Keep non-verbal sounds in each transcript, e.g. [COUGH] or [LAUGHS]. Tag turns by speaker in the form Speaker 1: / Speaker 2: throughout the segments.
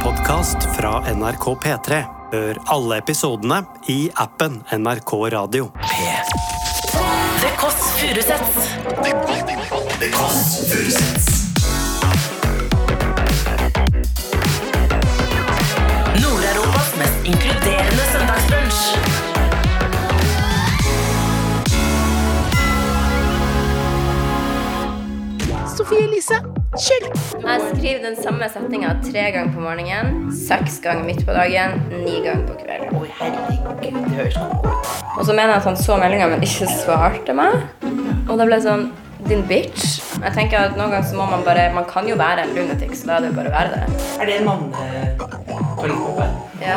Speaker 1: podkast fra NRK P3. Hør alle episodene i appen NRK Radio.
Speaker 2: The Kåss Furuseths. Nord-Europas mest inkluderende søndagsbrunch.
Speaker 3: Jeg skriver den samme setninga tre ganger på morgenen, seks ganger midt på dagen, ni ganger på kvelden.
Speaker 2: Oi, herregud, det høres god ut.
Speaker 3: Og så mener jeg at han så meldinga, men ikke svarte meg. Og da ble jeg sånn Din bitch. Jeg tenker at Noen ganger så må man bare Man kan jo være en lunatic, så da er det jo bare å være det.
Speaker 2: Er det en manneforløpe?
Speaker 3: Ja.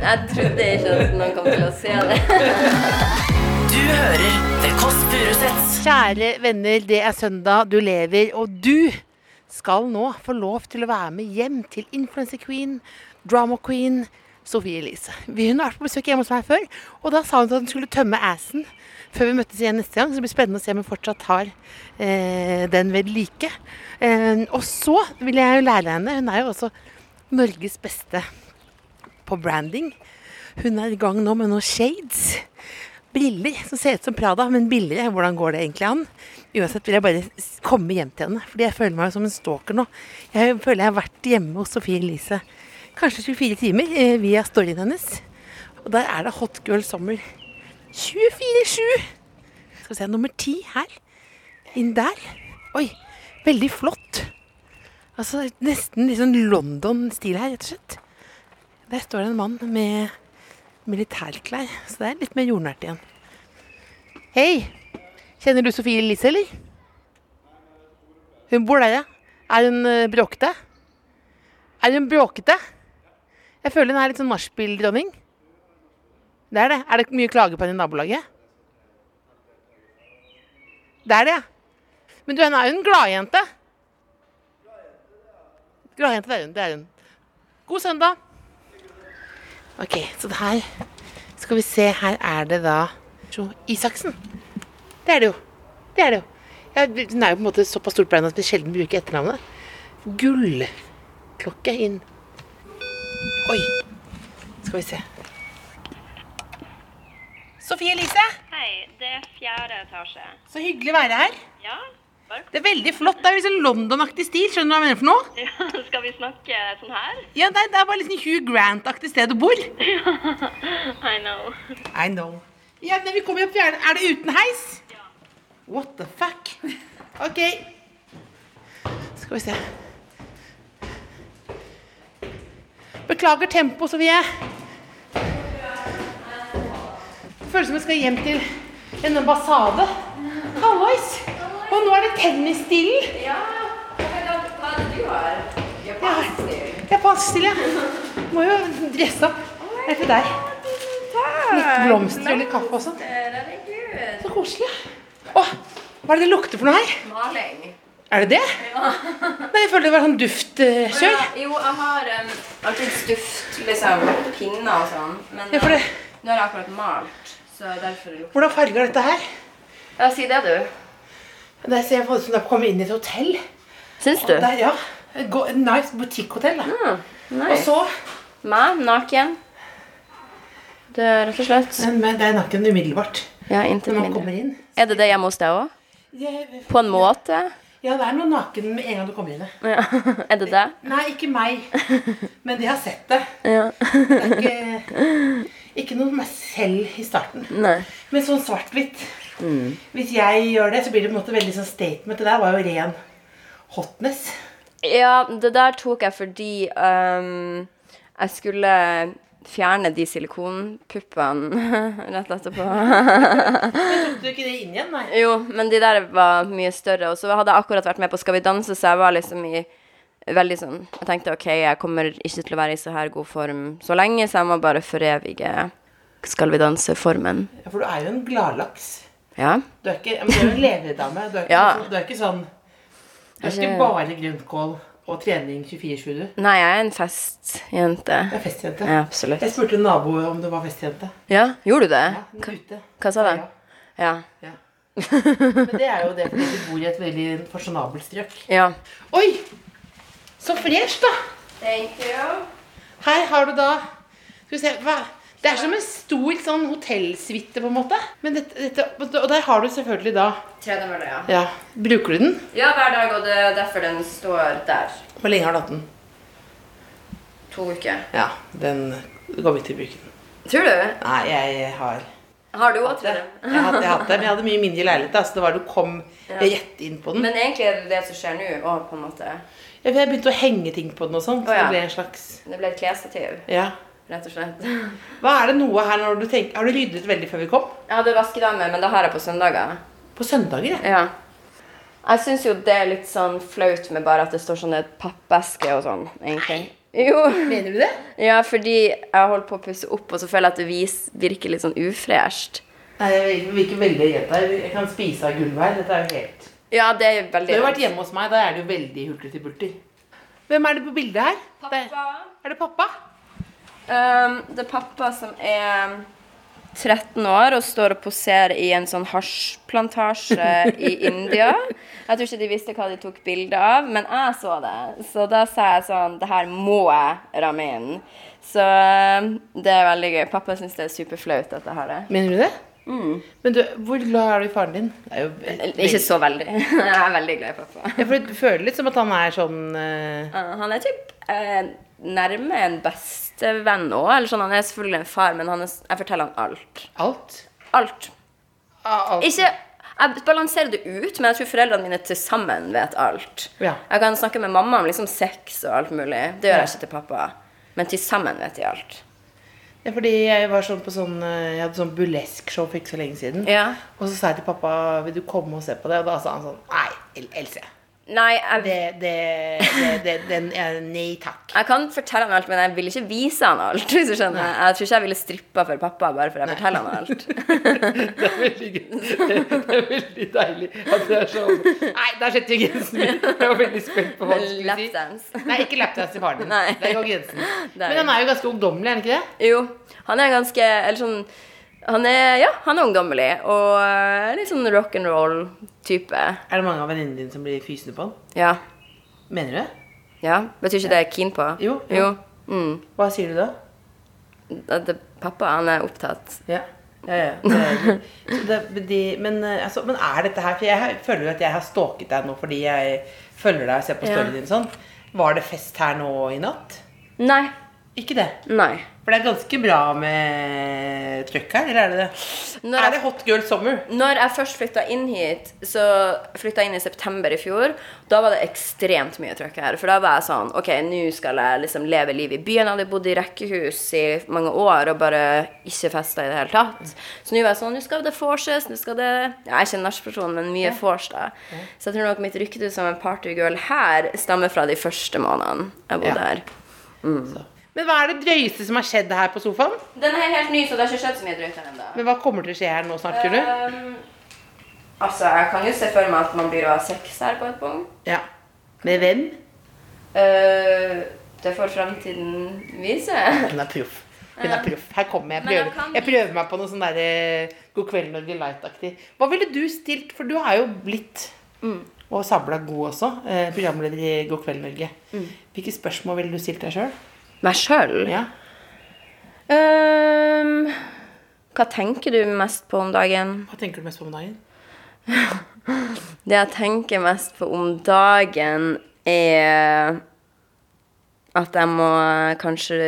Speaker 3: [LAUGHS] jeg trodde ikke at noen kom til å se det.
Speaker 2: Du hører The Kåss Furuseths.
Speaker 4: Kjære venner, det er søndag, du lever, og du skal nå få lov til å være med hjem til influencer queen, drama queen, Sofie Elise. Vi- Hun har vært på besøk hjemme hos meg før, og da sa hun at hun skulle tømme assen før vi møttes igjen neste gang. Så det blir spennende å se om hun fortsatt har eh, den ved like. Eh, og så vil jeg jo lære henne, hun er jo også Norges beste på branding. Hun er i gang nå med noen shades briller som ser ut som Prada, men billigere. Hvordan går det egentlig an? Uansett vil jeg bare s- komme hjem til henne, fordi jeg føler meg som en stalker nå. Jeg føler jeg har vært hjemme hos Sofie Elise kanskje 24 timer eh, via storyen hennes. Og der er det Hot Girl Summer 24-7. Skal vi se, nummer 10 her. Inn der. Oi, veldig flott. Altså nesten litt sånn London-stil her, rett og slett. Der står det en mann med militærklær, så det er litt mer jordnært igjen. Hei! Kjenner du Sofie Elise, eller? Hun bor der, ja. Er hun eh, bråkete? Er hun bråkete? Jeg føler hun er litt sånn nachspiel-dronning. Det er det. Er det mye klager på henne i nabolaget? Det er det, ja. Men du, hun er jo en gladjente. Gladjente, det er hun. Det er hun. God søndag. Ok, så det her skal vi se. Her er det da Jo, Isaksen. Det er det jo. Det er det jo. Ja, hun er jo på en måte såpass stort brand at vi sjelden bruker etternavnet. Gullklokke inn. Oi. Skal vi se. Sofie Elise,
Speaker 5: Hei, det er fjerde etasje.
Speaker 4: så hyggelig å være her.
Speaker 5: Ja, [LAUGHS] bare
Speaker 4: Det er veldig flott. Det er liksom London-aktig stil. Skjønner du hva jeg mener for noe?
Speaker 5: ja, Skal vi snakke sånn her?
Speaker 4: Ja, Det er, det er bare liksom Hugh Grant-aktig sted å bo.
Speaker 5: I know.
Speaker 4: I know. Ja, men vi kommer opp fjerde. Er det uten heis? Ja. What the fuck? Ok. Skal vi se. Beklager tempo, Sofie. Det føles som jeg skal hjem til en ambassade. Hallois! Og nå er det tennisstilen.
Speaker 3: Hva er det du har?
Speaker 4: Japansk stil, ja. Må jo dresse opp. Det er til deg. Litt blomster og litt kaffe også.
Speaker 3: eh,
Speaker 4: Så koselig. Åh, hva er det det lukter for noe her?
Speaker 3: Maling.
Speaker 4: Er det det? Nei, jeg følte det var sånn duftkjør.
Speaker 3: Ja, jo, jeg har um, alltid stuft liksom, pinner og sånn. Men
Speaker 4: Ja, for det-
Speaker 3: eh, nå har jeg akkurat malt, så derfor det lukter
Speaker 4: Hvordan farger er dette her?
Speaker 3: Ja, si det, du.
Speaker 4: Det ser jeg ut som det kommer inn i et hotell.
Speaker 3: Syns du?
Speaker 4: Der, ja. Et go- et nice butikkhotell. da. Og
Speaker 3: Nice.
Speaker 4: så
Speaker 3: Meg, naken. Det er rett og slett
Speaker 4: Men men det er nakken umiddelbart
Speaker 3: Ja, intet
Speaker 4: når man kommer
Speaker 3: mindre.
Speaker 4: inn.
Speaker 3: Er det det hjemme hos deg òg?
Speaker 4: Jeg-
Speaker 3: På en måte?
Speaker 4: Ja, det er noe naken med en gang du kommer inn. ja.
Speaker 3: Ja. [LAUGHS] Er det det?
Speaker 4: Nei, ikke meg. Men de har sett det.
Speaker 3: [LAUGHS] Ja.
Speaker 4: Det er ikke, ikke noe meg selv i starten.
Speaker 3: Nei. Mm.
Speaker 4: Men sånn svart-hvitt. Hvis jeg gjør det, så blir det på en måte veldig sånn statement. Det der var jo ren hotness.
Speaker 3: Ja, det der tok jeg fordi ehm, jeg skulle fjerne de silikonpuppene [LAUGHS] rett etterpå.
Speaker 4: Tok du ikke det inn igjen, nei?
Speaker 3: Jo, men de der var mye større. Og så hadde jeg akkurat vært med på Skal vi danse, så jeg var liksom i veldig sånn Jeg tenkte OK, jeg kommer ikke til å være i så her god form så lenge, så jeg må bare forevige Skal vi danse-formen.
Speaker 4: Ja, For du er jo en gladlaks.
Speaker 3: Ja.
Speaker 4: Du er ikke men du er jo en leverdame. Du er ikke,
Speaker 3: Ja.
Speaker 4: sånn- du er ikke sånn Du er
Speaker 3: Jeg-
Speaker 4: ikke bare grønnkål og trening 24-7, du.
Speaker 3: Nei, jeg er en festjente.
Speaker 4: Du er festjente.
Speaker 3: Ja, absolutt.
Speaker 4: Jeg spurte en nabo om du var festjente.
Speaker 3: Ja, gjorde du det?
Speaker 4: Ja, hun er ute.
Speaker 3: Hva sa
Speaker 4: Ja.
Speaker 3: de? Ja.
Speaker 4: Men det er jo det fordi du bor i et veldig fasjonabelt strøk.
Speaker 3: ja.
Speaker 4: Oi! Så fresh, da.
Speaker 3: Thank you.
Speaker 4: Her har du da Skal vi se hva? Det er som en stor sånn hotellsuite, på en måte. Men dette, dette, og der har du selvfølgelig da
Speaker 3: Tredemølle, ja.
Speaker 4: Ja. Bruker du den?
Speaker 3: Ja, hver dag, og det er derfor den står der.
Speaker 4: Hvor lenge har du hatt den?
Speaker 3: To uker.
Speaker 4: Ja, den går midt i bruken.
Speaker 3: Tror du?
Speaker 4: Nei, jeg har
Speaker 3: Har du òg
Speaker 4: jeg
Speaker 3: tredemølle?
Speaker 4: hadde, jeg hadde, men jeg hadde mye mindre leilighet. da, Så det var du kom rett inn på den.
Speaker 3: Men egentlig er det det som skjer nå òg, på en måte.
Speaker 4: Jeg jeg begynte å henge ting på den og sånn. Så
Speaker 3: Å, ja.
Speaker 4: det ble en slags
Speaker 3: Det ble et klesstativ,
Speaker 4: Ja.
Speaker 3: rett og slett.
Speaker 4: Hva er det noe her når du tenker Har du ryddet veldig før vi kom?
Speaker 3: Jeg hadde vaskedame, men det har jeg på søndager.
Speaker 4: På søndager, jeg.
Speaker 3: Ja. Jeg syns jo det er litt sånn flaut med bare at det står sånne pappesker og sånn, egentlig. Jo.
Speaker 4: Mener du det?
Speaker 3: Ja, fordi jeg holdt på å pusse opp, og så føler jeg at det vis virker litt sånn ufresht.
Speaker 4: Nei, jeg virker veldig redd her. Jeg kan spise av gulvet her. Dette er jo helt
Speaker 3: Ja, det er
Speaker 4: Du
Speaker 3: veldig
Speaker 4: har jo vært hjemme hos meg, da er det jo veldig hulter til bulter. Hvem er det på bildet her? Det- Er det pappa?
Speaker 3: Um, det er pappa som er 13 år og står og poserer i en sånn hasjplantasje i India. Jeg tror ikke de visste hva de tok bilde av, men jeg så det. Så da sa jeg sånn Det her må jeg ramme inn. Så um, det er veldig gøy. Pappa syns det er superflaut at jeg har det.
Speaker 4: Mener du det? Men du, hvor glad er du i faren din? Det er jo
Speaker 3: Mm. Ikke så veldig. [LAUGHS] Jeg er veldig glad i pappa.
Speaker 4: Ja, for Du føler litt som at han er sånn eh,
Speaker 3: Uh, Han er typ eh, nærme en bestevenn òg. Eller sånn, han er selvfølgelig en far, men han er, s- jeg forteller han alt.
Speaker 4: alt.
Speaker 3: Alt.
Speaker 4: Ah, alt.
Speaker 3: Ikke Jeg balanserer det ut, men jeg tror foreldrene mine til sammen vet alt.
Speaker 4: Ja.
Speaker 3: Jeg kan snakke med mamma om liksom sex og alt mulig. Det gjør jeg ikke til pappa. Men til sammen vet de alt.
Speaker 4: Ja, fordi jeg var sånn på sånn eh, Jeg hadde sånn burlesque-show for ikke så lenge siden.
Speaker 3: Ja.
Speaker 4: Og så sa jeg til pappa vil du komme og se på det, og da sa han sånn Nei, El- Else.
Speaker 3: Nei, jeg,
Speaker 4: Det, det, det, det den, eh, Nei takk.
Speaker 3: jeg kan fortelle han alt, men jeg vil ikke vise han alt. [LAUGHS] Hvis du skjønner. Jeg tror ikke jeg ville strippa for pappa bare for jeg forteller han alt.
Speaker 4: [LAUGHS] Det er veldig gøy. Det er veldig deilig at det er sånn Nei, der setter vi grensen min. Jeg var veldig spent på hva du skulle si.
Speaker 3: Lapdance.
Speaker 4: Nei, ikke lapdance til faren din.
Speaker 3: Nei.
Speaker 4: Der går grensen.
Speaker 3: Der.
Speaker 4: Men han er jo ganske ungdommelig, er han ikke det?
Speaker 3: Jo, han er ganske Eller sånn Han er, ja, han er ungdommelig og eh, litt sånn rock'n'roll-type.
Speaker 4: Er det mange av venninnene dine som blir fysende på han?
Speaker 3: Ja.
Speaker 4: Mener du det?
Speaker 3: ja. Betyr ikke det jeg er keen på?
Speaker 4: Jo.
Speaker 3: jo. Mm.
Speaker 4: Hva sier du da?
Speaker 3: at det, pappa han er opptatt.
Speaker 4: Ja. Ja, ja. Det er, så det, men de, men, eh, altså, men er dette her For jeg har- føler jo at jeg har stalket deg nå fordi jeg følger deg og ser på
Speaker 3: Ja.
Speaker 4: storyen din sånn. Var det fest her nå i natt?
Speaker 3: Nei.
Speaker 4: Ikke det.
Speaker 3: Nei.
Speaker 4: For det er ganske bra med trøkk her, eller er det det?
Speaker 3: Når
Speaker 4: er
Speaker 3: jeg-
Speaker 4: det hot girl summer?
Speaker 3: Når jeg først flytta inn hit, så flytta jeg inn i september i fjor, da var det ekstremt mye trøkk her. For da var jeg sånn OK, nå skal jeg liksom leve livet i byen. Jeg hadde bodd i rekkehus i mange år og bare ikke festa i det hele tatt. Så nå var jeg sånn Nå skal det forses, nå skal det Ja, jeg er ikke en nachperson, men mye vors, da. Så jeg tror nok mitt rykte som en partygirl her stammer fra de første månedene jeg bodde
Speaker 4: Ja.
Speaker 3: her. Altså.
Speaker 4: Så. Men hva er det drøyeste som har skjedd her på sofaen?
Speaker 3: Den er helt ny, så det har ikke skjedd så mye drøyt her ennå.
Speaker 4: Men hva kommer til å skje her nå snart, tror du?
Speaker 3: Ehm, altså, jeg kan jo se for meg at man blir å ha sex her på et punkt.
Speaker 4: Ja. Med hvem?
Speaker 3: Eh, det får fremtiden vise.
Speaker 4: Hun er proff. Hun er proff. Her kommer jeg.
Speaker 3: Eh. Men jeg
Speaker 4: Prøver.
Speaker 3: kan-
Speaker 4: Jeg prøver meg på noe sånn derre God kveld, Norge Light-aktig. Hva ville du stilt? For du er jo blitt
Speaker 3: Mm.
Speaker 4: og sabla god også. Eh, programleder i God kveld, Norge.
Speaker 3: Mm.
Speaker 4: Hvilke spørsmål ville du stilt deg sjøl?
Speaker 3: Meg sjøl?
Speaker 4: Ja.
Speaker 3: Ehm, hva tenker du mest på om dagen?
Speaker 4: Hva tenker du mest på om dagen?
Speaker 3: Det jeg tenker mest på om dagen, er at jeg må kanskje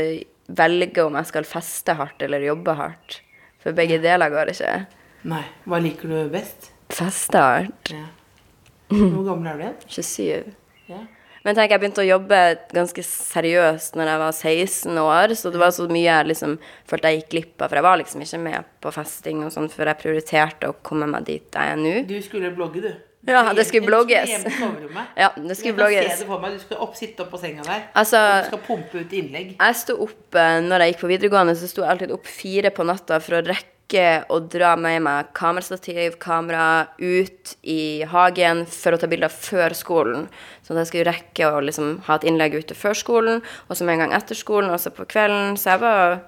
Speaker 3: velge om jeg skal feste hardt eller jobbe hardt. For begge deler går ikke.
Speaker 4: Nei. Hva liker du best?
Speaker 3: Feste hardt. [LAUGHS]
Speaker 4: Ja. Hvor gammel er du igjen?
Speaker 3: 27.
Speaker 4: Ja.
Speaker 3: Men tenk, jeg begynte å jobbe ganske seriøst når jeg var 16 år, så det var så mye jeg liksom følte jeg gikk glipp av, for jeg var liksom ikke med på festing og sånn, for jeg prioriterte å komme meg dit jeg er nå.
Speaker 4: Du skulle blogge, du.
Speaker 3: Ja, det skulle blogges.
Speaker 4: Du skulle hjem på soverommet.
Speaker 3: Ja, det skulle
Speaker 4: Jeg kan
Speaker 3: blogges.
Speaker 4: se det for meg. Du skal opp, sitte opp på senga der.
Speaker 3: Altså-
Speaker 4: og du skal pumpe ut innlegg.
Speaker 3: Jeg sto opp eh, når jeg gikk på videregående, så sto jeg alltid opp fire på natta for å rekke å dra med meg kamerastativ, kamera, ut i hagen for å ta bilder før skolen. Sånn at jeg skulle rekke å liksom ha et innlegg ute før skolen, og så med en gang etter skolen, og så på kvelden. Så jeg var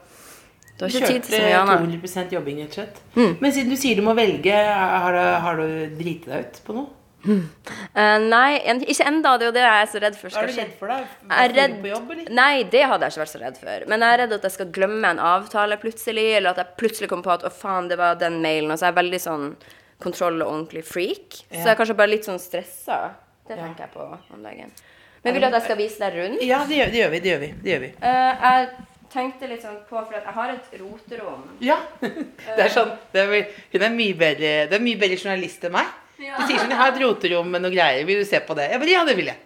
Speaker 3: Det var ikke tid til Mm. så mye
Speaker 4: Kjørte
Speaker 3: annet.
Speaker 4: 200 jobbing, rett og slett. Men siden du sier du må velge, har du, har du driti deg ut på noe?
Speaker 3: Eh, nei, en, ikke enda, det er jo det jeg er så redd for.
Speaker 4: Er
Speaker 3: skal
Speaker 4: du
Speaker 3: skje.
Speaker 4: redd for det?
Speaker 3: Jeg er redd
Speaker 4: på jobb, eller?
Speaker 3: Nei, det hadde jeg ikke vært så redd for. Men jeg er redd at jeg skal glemme en avtale plutselig, eller at jeg plutselig kommer på at å faen, det var den mailen. Og så er jeg veldig sånn kontroll og ordentlig freak. Så jeg er kanskje bare litt sånn stressa. Det tenker jeg på om dagen. Men vil du at jeg skal vise deg rundt?
Speaker 4: Ja, det gjør, det gjør vi. Det gjør vi. Det gjør vi.
Speaker 3: Eh, jeg tenkte litt sånn på, for at jeg har et roterom.
Speaker 4: Ja. [LAUGHS] Det er sånn, det er, vel- hun er mye bedre, det er mye bedre journalist enn meg. Hun sier sånn 'Jeg har et roterom med noen greier. Vil du se på det?' Jeg bare 'Ja, det vil jeg'.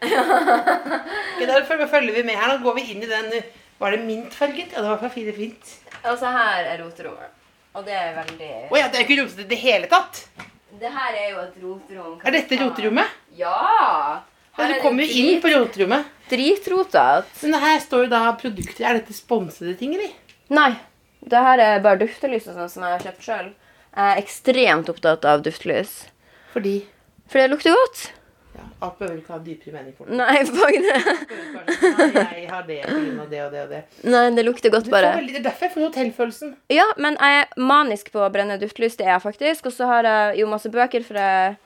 Speaker 4: Ok, da følger- følger vi med her. Nå går vi inn i den Var det mintfarget? Ja, det var i hvert fall fint- fint.
Speaker 3: Og så Altså, her er roterommet. Og det er veldig
Speaker 4: Å ja, det er ikke rotete i det hele tatt.
Speaker 3: Det her er jo et roterom.
Speaker 4: Er dette roterommet?
Speaker 3: Ja!
Speaker 4: Ja, du kommer jo inn på roterommet.
Speaker 3: Dritrotete.
Speaker 4: Men her står jo da produkter. Er dette sponsede ting, eller?
Speaker 3: Nei. Det her er bare duftelys og sånn som jeg har kjøpt sjøl. Jeg er ekstremt opptatt av duftlys.
Speaker 4: Fordi
Speaker 3: For det lukter godt.
Speaker 4: ja, Alt behøver ikke ha dypere mening for det. [LAUGHS]
Speaker 3: Nei, fuck det.
Speaker 4: Nei, jeg har det pga. det og det og det.
Speaker 3: Nei, det lukter godt,
Speaker 4: Du får
Speaker 3: bare.
Speaker 4: veldig, det er derfor jeg får hotellfølelsen.
Speaker 3: Ja, men jeg er manisk på å brenne duftlys. Det er jeg faktisk. Og så har jeg jo masse bøker, for jeg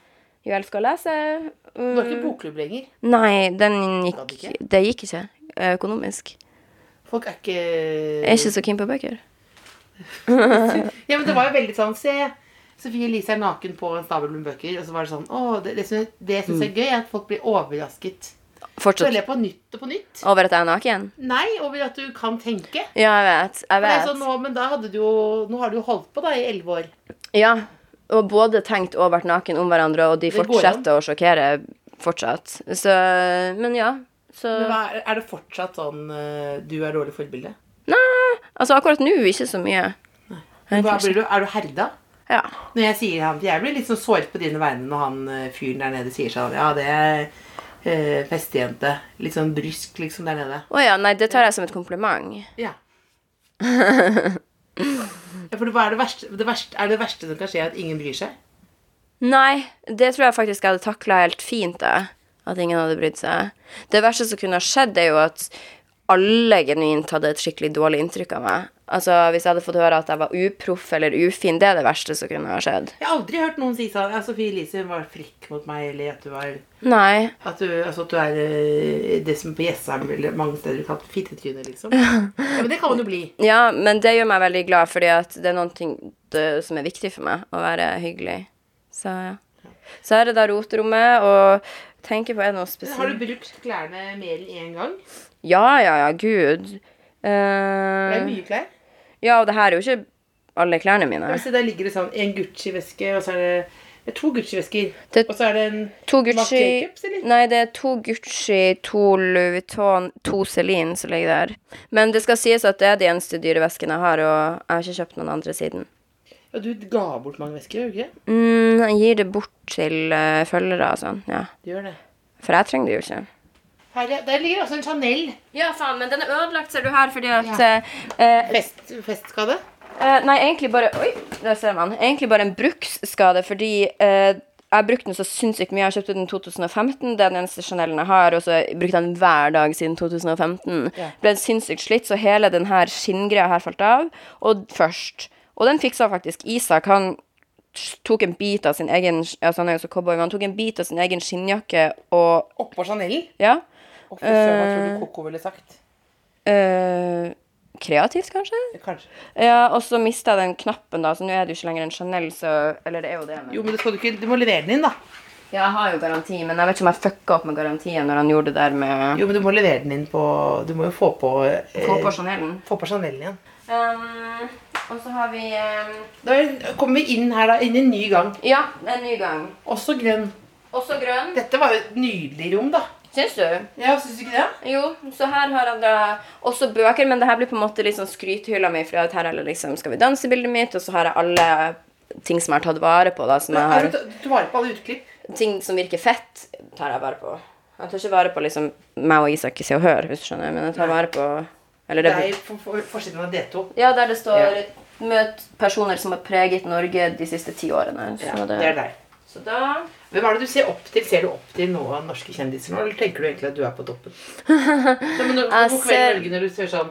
Speaker 3: jo elsker å lese.
Speaker 4: Du har ikke
Speaker 3: Mm.
Speaker 4: bokklubb lenger.
Speaker 3: Nei, den gikk
Speaker 4: Gadd ikke?
Speaker 3: Det gikk ikke økonomisk.
Speaker 4: Folk er ikke
Speaker 3: Jeg er ikke så keen på bøker.
Speaker 4: Ja, men det var jo veldig sånn Se, Sofie Elise er naken på en stabel med bøker. Og så var det sånn Å, det, det syns jeg, det synes
Speaker 3: Mm.
Speaker 4: jeg er gøy, er at folk blir overrasket.
Speaker 3: Fortsatt
Speaker 4: Føler jeg på nytt og på nytt?
Speaker 3: over at jeg er naken.
Speaker 4: Nei, over at du kan tenke.
Speaker 3: Ja, jeg vet. Jeg
Speaker 4: For det er
Speaker 3: vet.
Speaker 4: sånn, nå, men da hadde du jo Nå har du jo holdt på da i elleve år.
Speaker 3: Ja, og både tenkt og vært naken om hverandre, og de
Speaker 4: går
Speaker 3: fortsetter å sjokkere fortsatt. Så, men ja. Så,
Speaker 4: Men hva, er- er det fortsatt sånn eh, Du er dårlig forbilde?
Speaker 3: altså akkurat nå ikke så mye. Jeg
Speaker 4: Hva
Speaker 3: tror
Speaker 4: blir
Speaker 3: ikke-
Speaker 4: du, er du herda?
Speaker 3: Ja.
Speaker 4: Når jeg sier han, Jeg blir litt sånn såret på dine vegne når han eh, fyren der nede sier sånn Ja, det er eh, festejente. Litt sånn brysk, liksom, der nede.
Speaker 3: Å ja, nei, det tar jeg som et kompliment.
Speaker 4: [LAUGHS] Ja. ja for hva er det verste, det verste? Er det verste som kan skje, at ingen bryr seg?
Speaker 3: Nei, det tror jeg faktisk jeg hadde takla helt fint, jeg. At ingen hadde brydd seg. Det verste som kunne ha skjedd, er jo at alle genuint hadde et skikkelig dårlig inntrykk av meg. Altså, Hvis jeg hadde fått høre at jeg var uproff eller ufin, det er det verste som kunne ha skjedd.
Speaker 4: Jeg har aldri hørt noen si sånn Ja, Sofie Elise var frekk mot meg, eller at du var
Speaker 3: Nei.
Speaker 4: At du, altså, at du er eh, det som på Jessheim eller mange steder kalt fittetryne, liksom. Ja, men det kan man jo [LAUGHS] bli.
Speaker 3: Ja, men det gjør meg veldig glad, fordi at det er noen ting det, som er viktig for meg. Å være hyggelig. Så ja. Så her er det da roterommet, og tenker på er det noe
Speaker 4: Men Har du
Speaker 3: spesielt
Speaker 4: brukt klærne mer enn én gang?
Speaker 3: Ja, ja, ja, gud.
Speaker 4: Det er
Speaker 3: Eh,
Speaker 4: mye klær.
Speaker 3: ja, og det her er jo ikke alle klærne mine.
Speaker 4: Altså, der ligger det sånn en Gucci-veske, og så er det det er to Gucci-vesker.
Speaker 3: Det-
Speaker 4: Og så er det en
Speaker 3: To
Speaker 4: Marc
Speaker 3: Gucci
Speaker 4: Jacobs, eller?
Speaker 3: Nei, det er to Gucci, to Louis Vuitton, to Celine som ligger der. Men det skal sies at det er de eneste dyre veskene jeg har, og jeg har ikke kjøpt noen andre siden.
Speaker 4: Ja, du ga bort mange vesker, gjør du ikke? det?
Speaker 3: Mm, jeg gir det bort til eh, følgere og sånn, ja.
Speaker 4: Du gjør det.
Speaker 3: For jeg trenger det jo ikke.
Speaker 4: Her, ja, der ligger også en Chanel
Speaker 3: Ja, faen, men den er ødelagt, ser du her, fordi at eh, eh,
Speaker 4: fest, festskade.
Speaker 3: eh, Nei, egentlig bare Oi, der ser man. Egentlig bare en bruksskade, fordi eh, jeg brukte den så sinnssykt mye. Jeg kjøpte den i 2015, det er den eneste Chanelen jeg har, og så brukte jeg den hver dag siden 2015. Ble sinnssykt slitt, så hele den her skinngreia her falt av, og først. Og den fiksa faktisk Isak. Han tok en bit av sin egen altså han er jo så cowboy, men han tok en bit av sin egen skinnjakke og
Speaker 4: Oppå Chanelen.
Speaker 3: Ja.
Speaker 4: Å, fy søren, hva tror du Coco ville sagt?
Speaker 3: eh, kreativt, kanskje?
Speaker 4: Kanskje.
Speaker 3: Ja, og så mista jeg den knappen, da, så nå er det jo ikke lenger en Chanel, så Eller det er jo det, men
Speaker 4: Jo, men det skal du ikke Du må levere den inn, da.
Speaker 3: Ja, jeg har jo garanti, men jeg vet ikke om jeg fucka opp med garantien når han gjorde det der med
Speaker 4: Jo, men du må levere den inn på Du må jo få på eh,
Speaker 3: Få på Chanelen.
Speaker 4: Få på Chanelen igjen.
Speaker 3: Um, og så har vi um,
Speaker 4: Da er- kommer vi inn her, da. Inn i en ny gang.
Speaker 3: Ja, en ny gang.
Speaker 4: Også grønn.
Speaker 3: Også grønn.
Speaker 4: Dette var jo et nydelig rom, da.
Speaker 3: Syns du?
Speaker 4: Ja, syns du ikke det?
Speaker 3: Jo, så her har han da også bøker, men det her blir på en måte litt sånn skrythylla mi, for at her er det liksom Skal vi danse-bildet mitt, og så har jeg alle ting som jeg har tatt vare på, da, som jeg
Speaker 4: Har
Speaker 3: har
Speaker 4: du tatt vare på alle utklipp?
Speaker 3: ting som virker fett, tar jeg vare på. Jeg tar ikke vare på liksom meg og Isak i Se og Hør, hvis du skjønner, men jeg tar vare på eller
Speaker 4: Det
Speaker 3: det,
Speaker 4: er for- for- forsiden av D2.
Speaker 3: Ja, der det står
Speaker 4: Ja.
Speaker 3: 'møt personer som har preget Norge de siste ti årene'. Så,
Speaker 4: Ja,
Speaker 3: det,
Speaker 4: det er deg.
Speaker 3: så da
Speaker 4: Hvem er det du ser opp til? Ser du opp til noen norske
Speaker 3: [LAUGHS]
Speaker 4: kjendiser nå, eller tenker du egentlig at du er på toppen? Nei, men når,
Speaker 3: Jeg
Speaker 4: på
Speaker 3: ser-
Speaker 4: kveld Norge når du ser sånn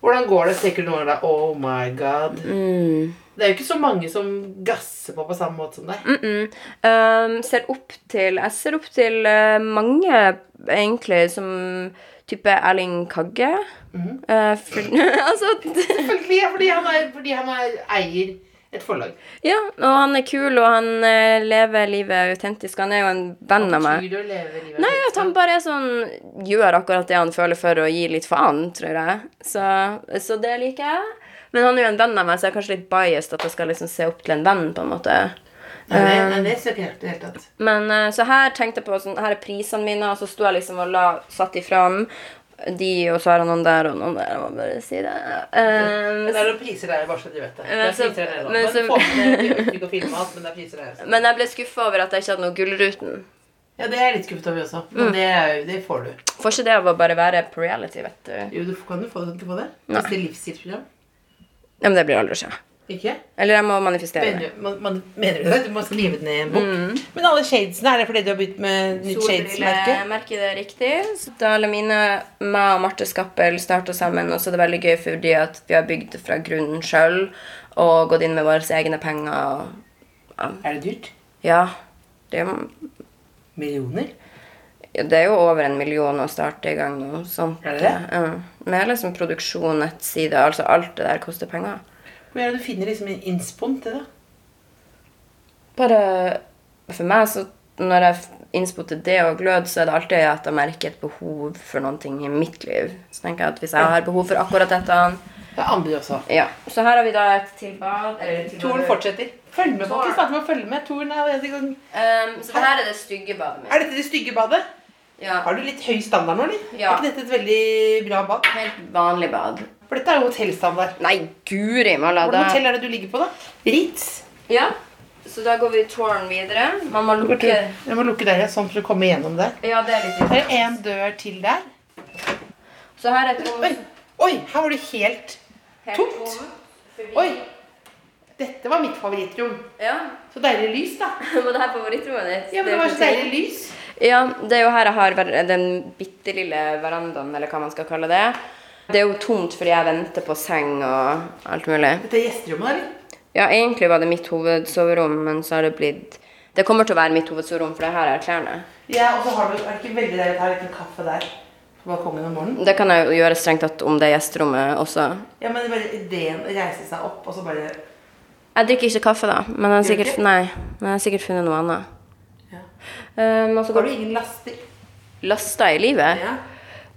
Speaker 4: Hvordan går det? Tenker du noen ganger da Oh my god.
Speaker 3: Mm.
Speaker 4: Det er jo ikke så mange som gasser på på samme måte som
Speaker 3: Mm.
Speaker 4: deg.
Speaker 3: Ehm, ser opp til Jeg ser opp til eh, mange, egentlig, som type Erling Kagge.
Speaker 4: Mhm.
Speaker 3: Eh, for, [LAUGHS] altså
Speaker 4: Selvfølgelig, ja, fordi han, er, fordi han er, eier et forlag.
Speaker 3: Ja, og han er kul, og han eh, lever livet autentisk. Han er jo en venn av meg.
Speaker 4: Betyr det å leve livet?
Speaker 3: Nei, at han bare er sånn Gjør akkurat det han føler for, og gir litt faen, tror jeg. Så, så det liker jeg. Men han er jo en venn av meg, så jeg er kanskje litt biased at jeg skal liksom se opp til en venn, på en måte.
Speaker 4: Nei,
Speaker 3: Eh.
Speaker 4: det, nei, det ser ikke helt i det hele tatt.
Speaker 3: Men eh, så her tenkte jeg på sånn, Her er prisene mine, og så sto jeg liksom og la satt de fram. De, og så har jeg noen der og noen der. Jeg må bare si det. Eh,
Speaker 4: Det er noen priser der, bare så du vet det. Det
Speaker 3: Men
Speaker 4: er
Speaker 3: så-
Speaker 4: priser der
Speaker 3: men
Speaker 4: også.
Speaker 3: så-
Speaker 4: Man får med det, du ikke å filme alt, men det er priser altså. der også.
Speaker 3: men jeg ble skuffa over at jeg ikke hadde noe Gullruten.
Speaker 4: Ja, det er litt skuffet over også. Men
Speaker 3: Mm.
Speaker 4: det, er, jo- det får du.
Speaker 3: Får ikke det av å bare være på reality, vet du.
Speaker 4: Jo, du kan jo få det. Kan du få det? Hvis det er livsstilsprogram.
Speaker 3: Ja, men det blir aldri å skje.
Speaker 4: Ikke?
Speaker 3: Eller jeg må manifestere det.
Speaker 4: Mener, man, man, mener du det? Du må skrive det ned i en bok. Men alle shadesene, er det fordi du har begynt med nytt shades-merke?
Speaker 3: Solbrillemerket det er riktig. Så da alle mine, meg og Marte Skappel starta sammen, og så er det veldig gøy fordi at vi har bygd fra grunnen sjøl og gått inn med våre egne penger. og-
Speaker 4: Er det dyrt?
Speaker 3: Ja, det, er jo-
Speaker 4: Millioner?
Speaker 3: ja, det er jo over en million å starte i gang nå. Sånt.
Speaker 4: Er det det?
Speaker 3: Ja. Med liksom produksjon, nettside, altså alt det der koster penger.
Speaker 4: Hvor er det du finner liksom en innspoen til det?
Speaker 3: Bare for meg, så når jeg innspottet det og glød, så er det alltid at jeg merker et behov for noen ting i mitt liv. Så tenker jeg at hvis jeg har behov for akkurat dette
Speaker 4: Det er anbud også.
Speaker 3: Ja, så her har vi da et tilbad. eller tilbad-
Speaker 4: Toren fortsetter. Følg med,
Speaker 3: Toren.
Speaker 4: folkens. Snart må følge med. Toren er allerede i gang.
Speaker 3: Ehm, så det her er det stygge badet mitt.
Speaker 4: Er dette det stygge badet?
Speaker 3: Ja,
Speaker 4: Har du litt høy standard nå, eller?
Speaker 3: Ja.
Speaker 4: Er ikke dette et veldig bra bad?
Speaker 3: helt vanlig bad.
Speaker 4: For dette er jo hotellstandard.
Speaker 3: Nei, guri malla,
Speaker 4: Hvordan
Speaker 3: da.
Speaker 4: hotell er det du ligger på, da? Ritz.
Speaker 3: Ja, så da går vi tårn videre. Man må lukke
Speaker 4: Jeg må lukke der, ja, sånn for å komme gjennom der.
Speaker 3: Ja, det er litt
Speaker 4: Det er en dør til der.
Speaker 3: Så her er et rom
Speaker 4: Oi, oi her var det helt
Speaker 3: helt
Speaker 4: tomt.
Speaker 3: rom.
Speaker 4: Oi! Dette var mitt favorittrom.
Speaker 3: Ja, [LAUGHS]
Speaker 4: Så deilig lys, da.
Speaker 3: men det her er favorittrommet ditt.
Speaker 4: Ja, men
Speaker 3: er
Speaker 4: det var
Speaker 3: jo
Speaker 4: så
Speaker 3: ikke-
Speaker 4: deilig lys.
Speaker 3: Ja, det er jo her jeg har ver- den bitte lille verandaen, eller hva man skal kalle det. Det er jo tomt fordi jeg venter på seng og alt mulig.
Speaker 4: Dette er gjesterommet, eller?
Speaker 3: Ja, egentlig var det mitt hovedsoverom, men så har det blitt Det kommer til å være mitt hovedsoverom, for det her er klærne.
Speaker 4: Ja, og så har du, er det ikke veldig deilig å ta litt kaffe der på balkongen om morgenen?
Speaker 3: Det kan jeg jo gjøre strengt tatt om det er gjesterommet også.
Speaker 4: Ja, men bare ideen å reise seg opp, og så bare
Speaker 3: Jeg drikker ikke kaffe, da, men jeg har sikkert,
Speaker 4: Gjør
Speaker 3: nei, men jeg har sikkert funnet noe annet. Um, og så
Speaker 4: Har
Speaker 3: går
Speaker 4: du ingen laster?
Speaker 3: lasta i livet.
Speaker 4: Ja.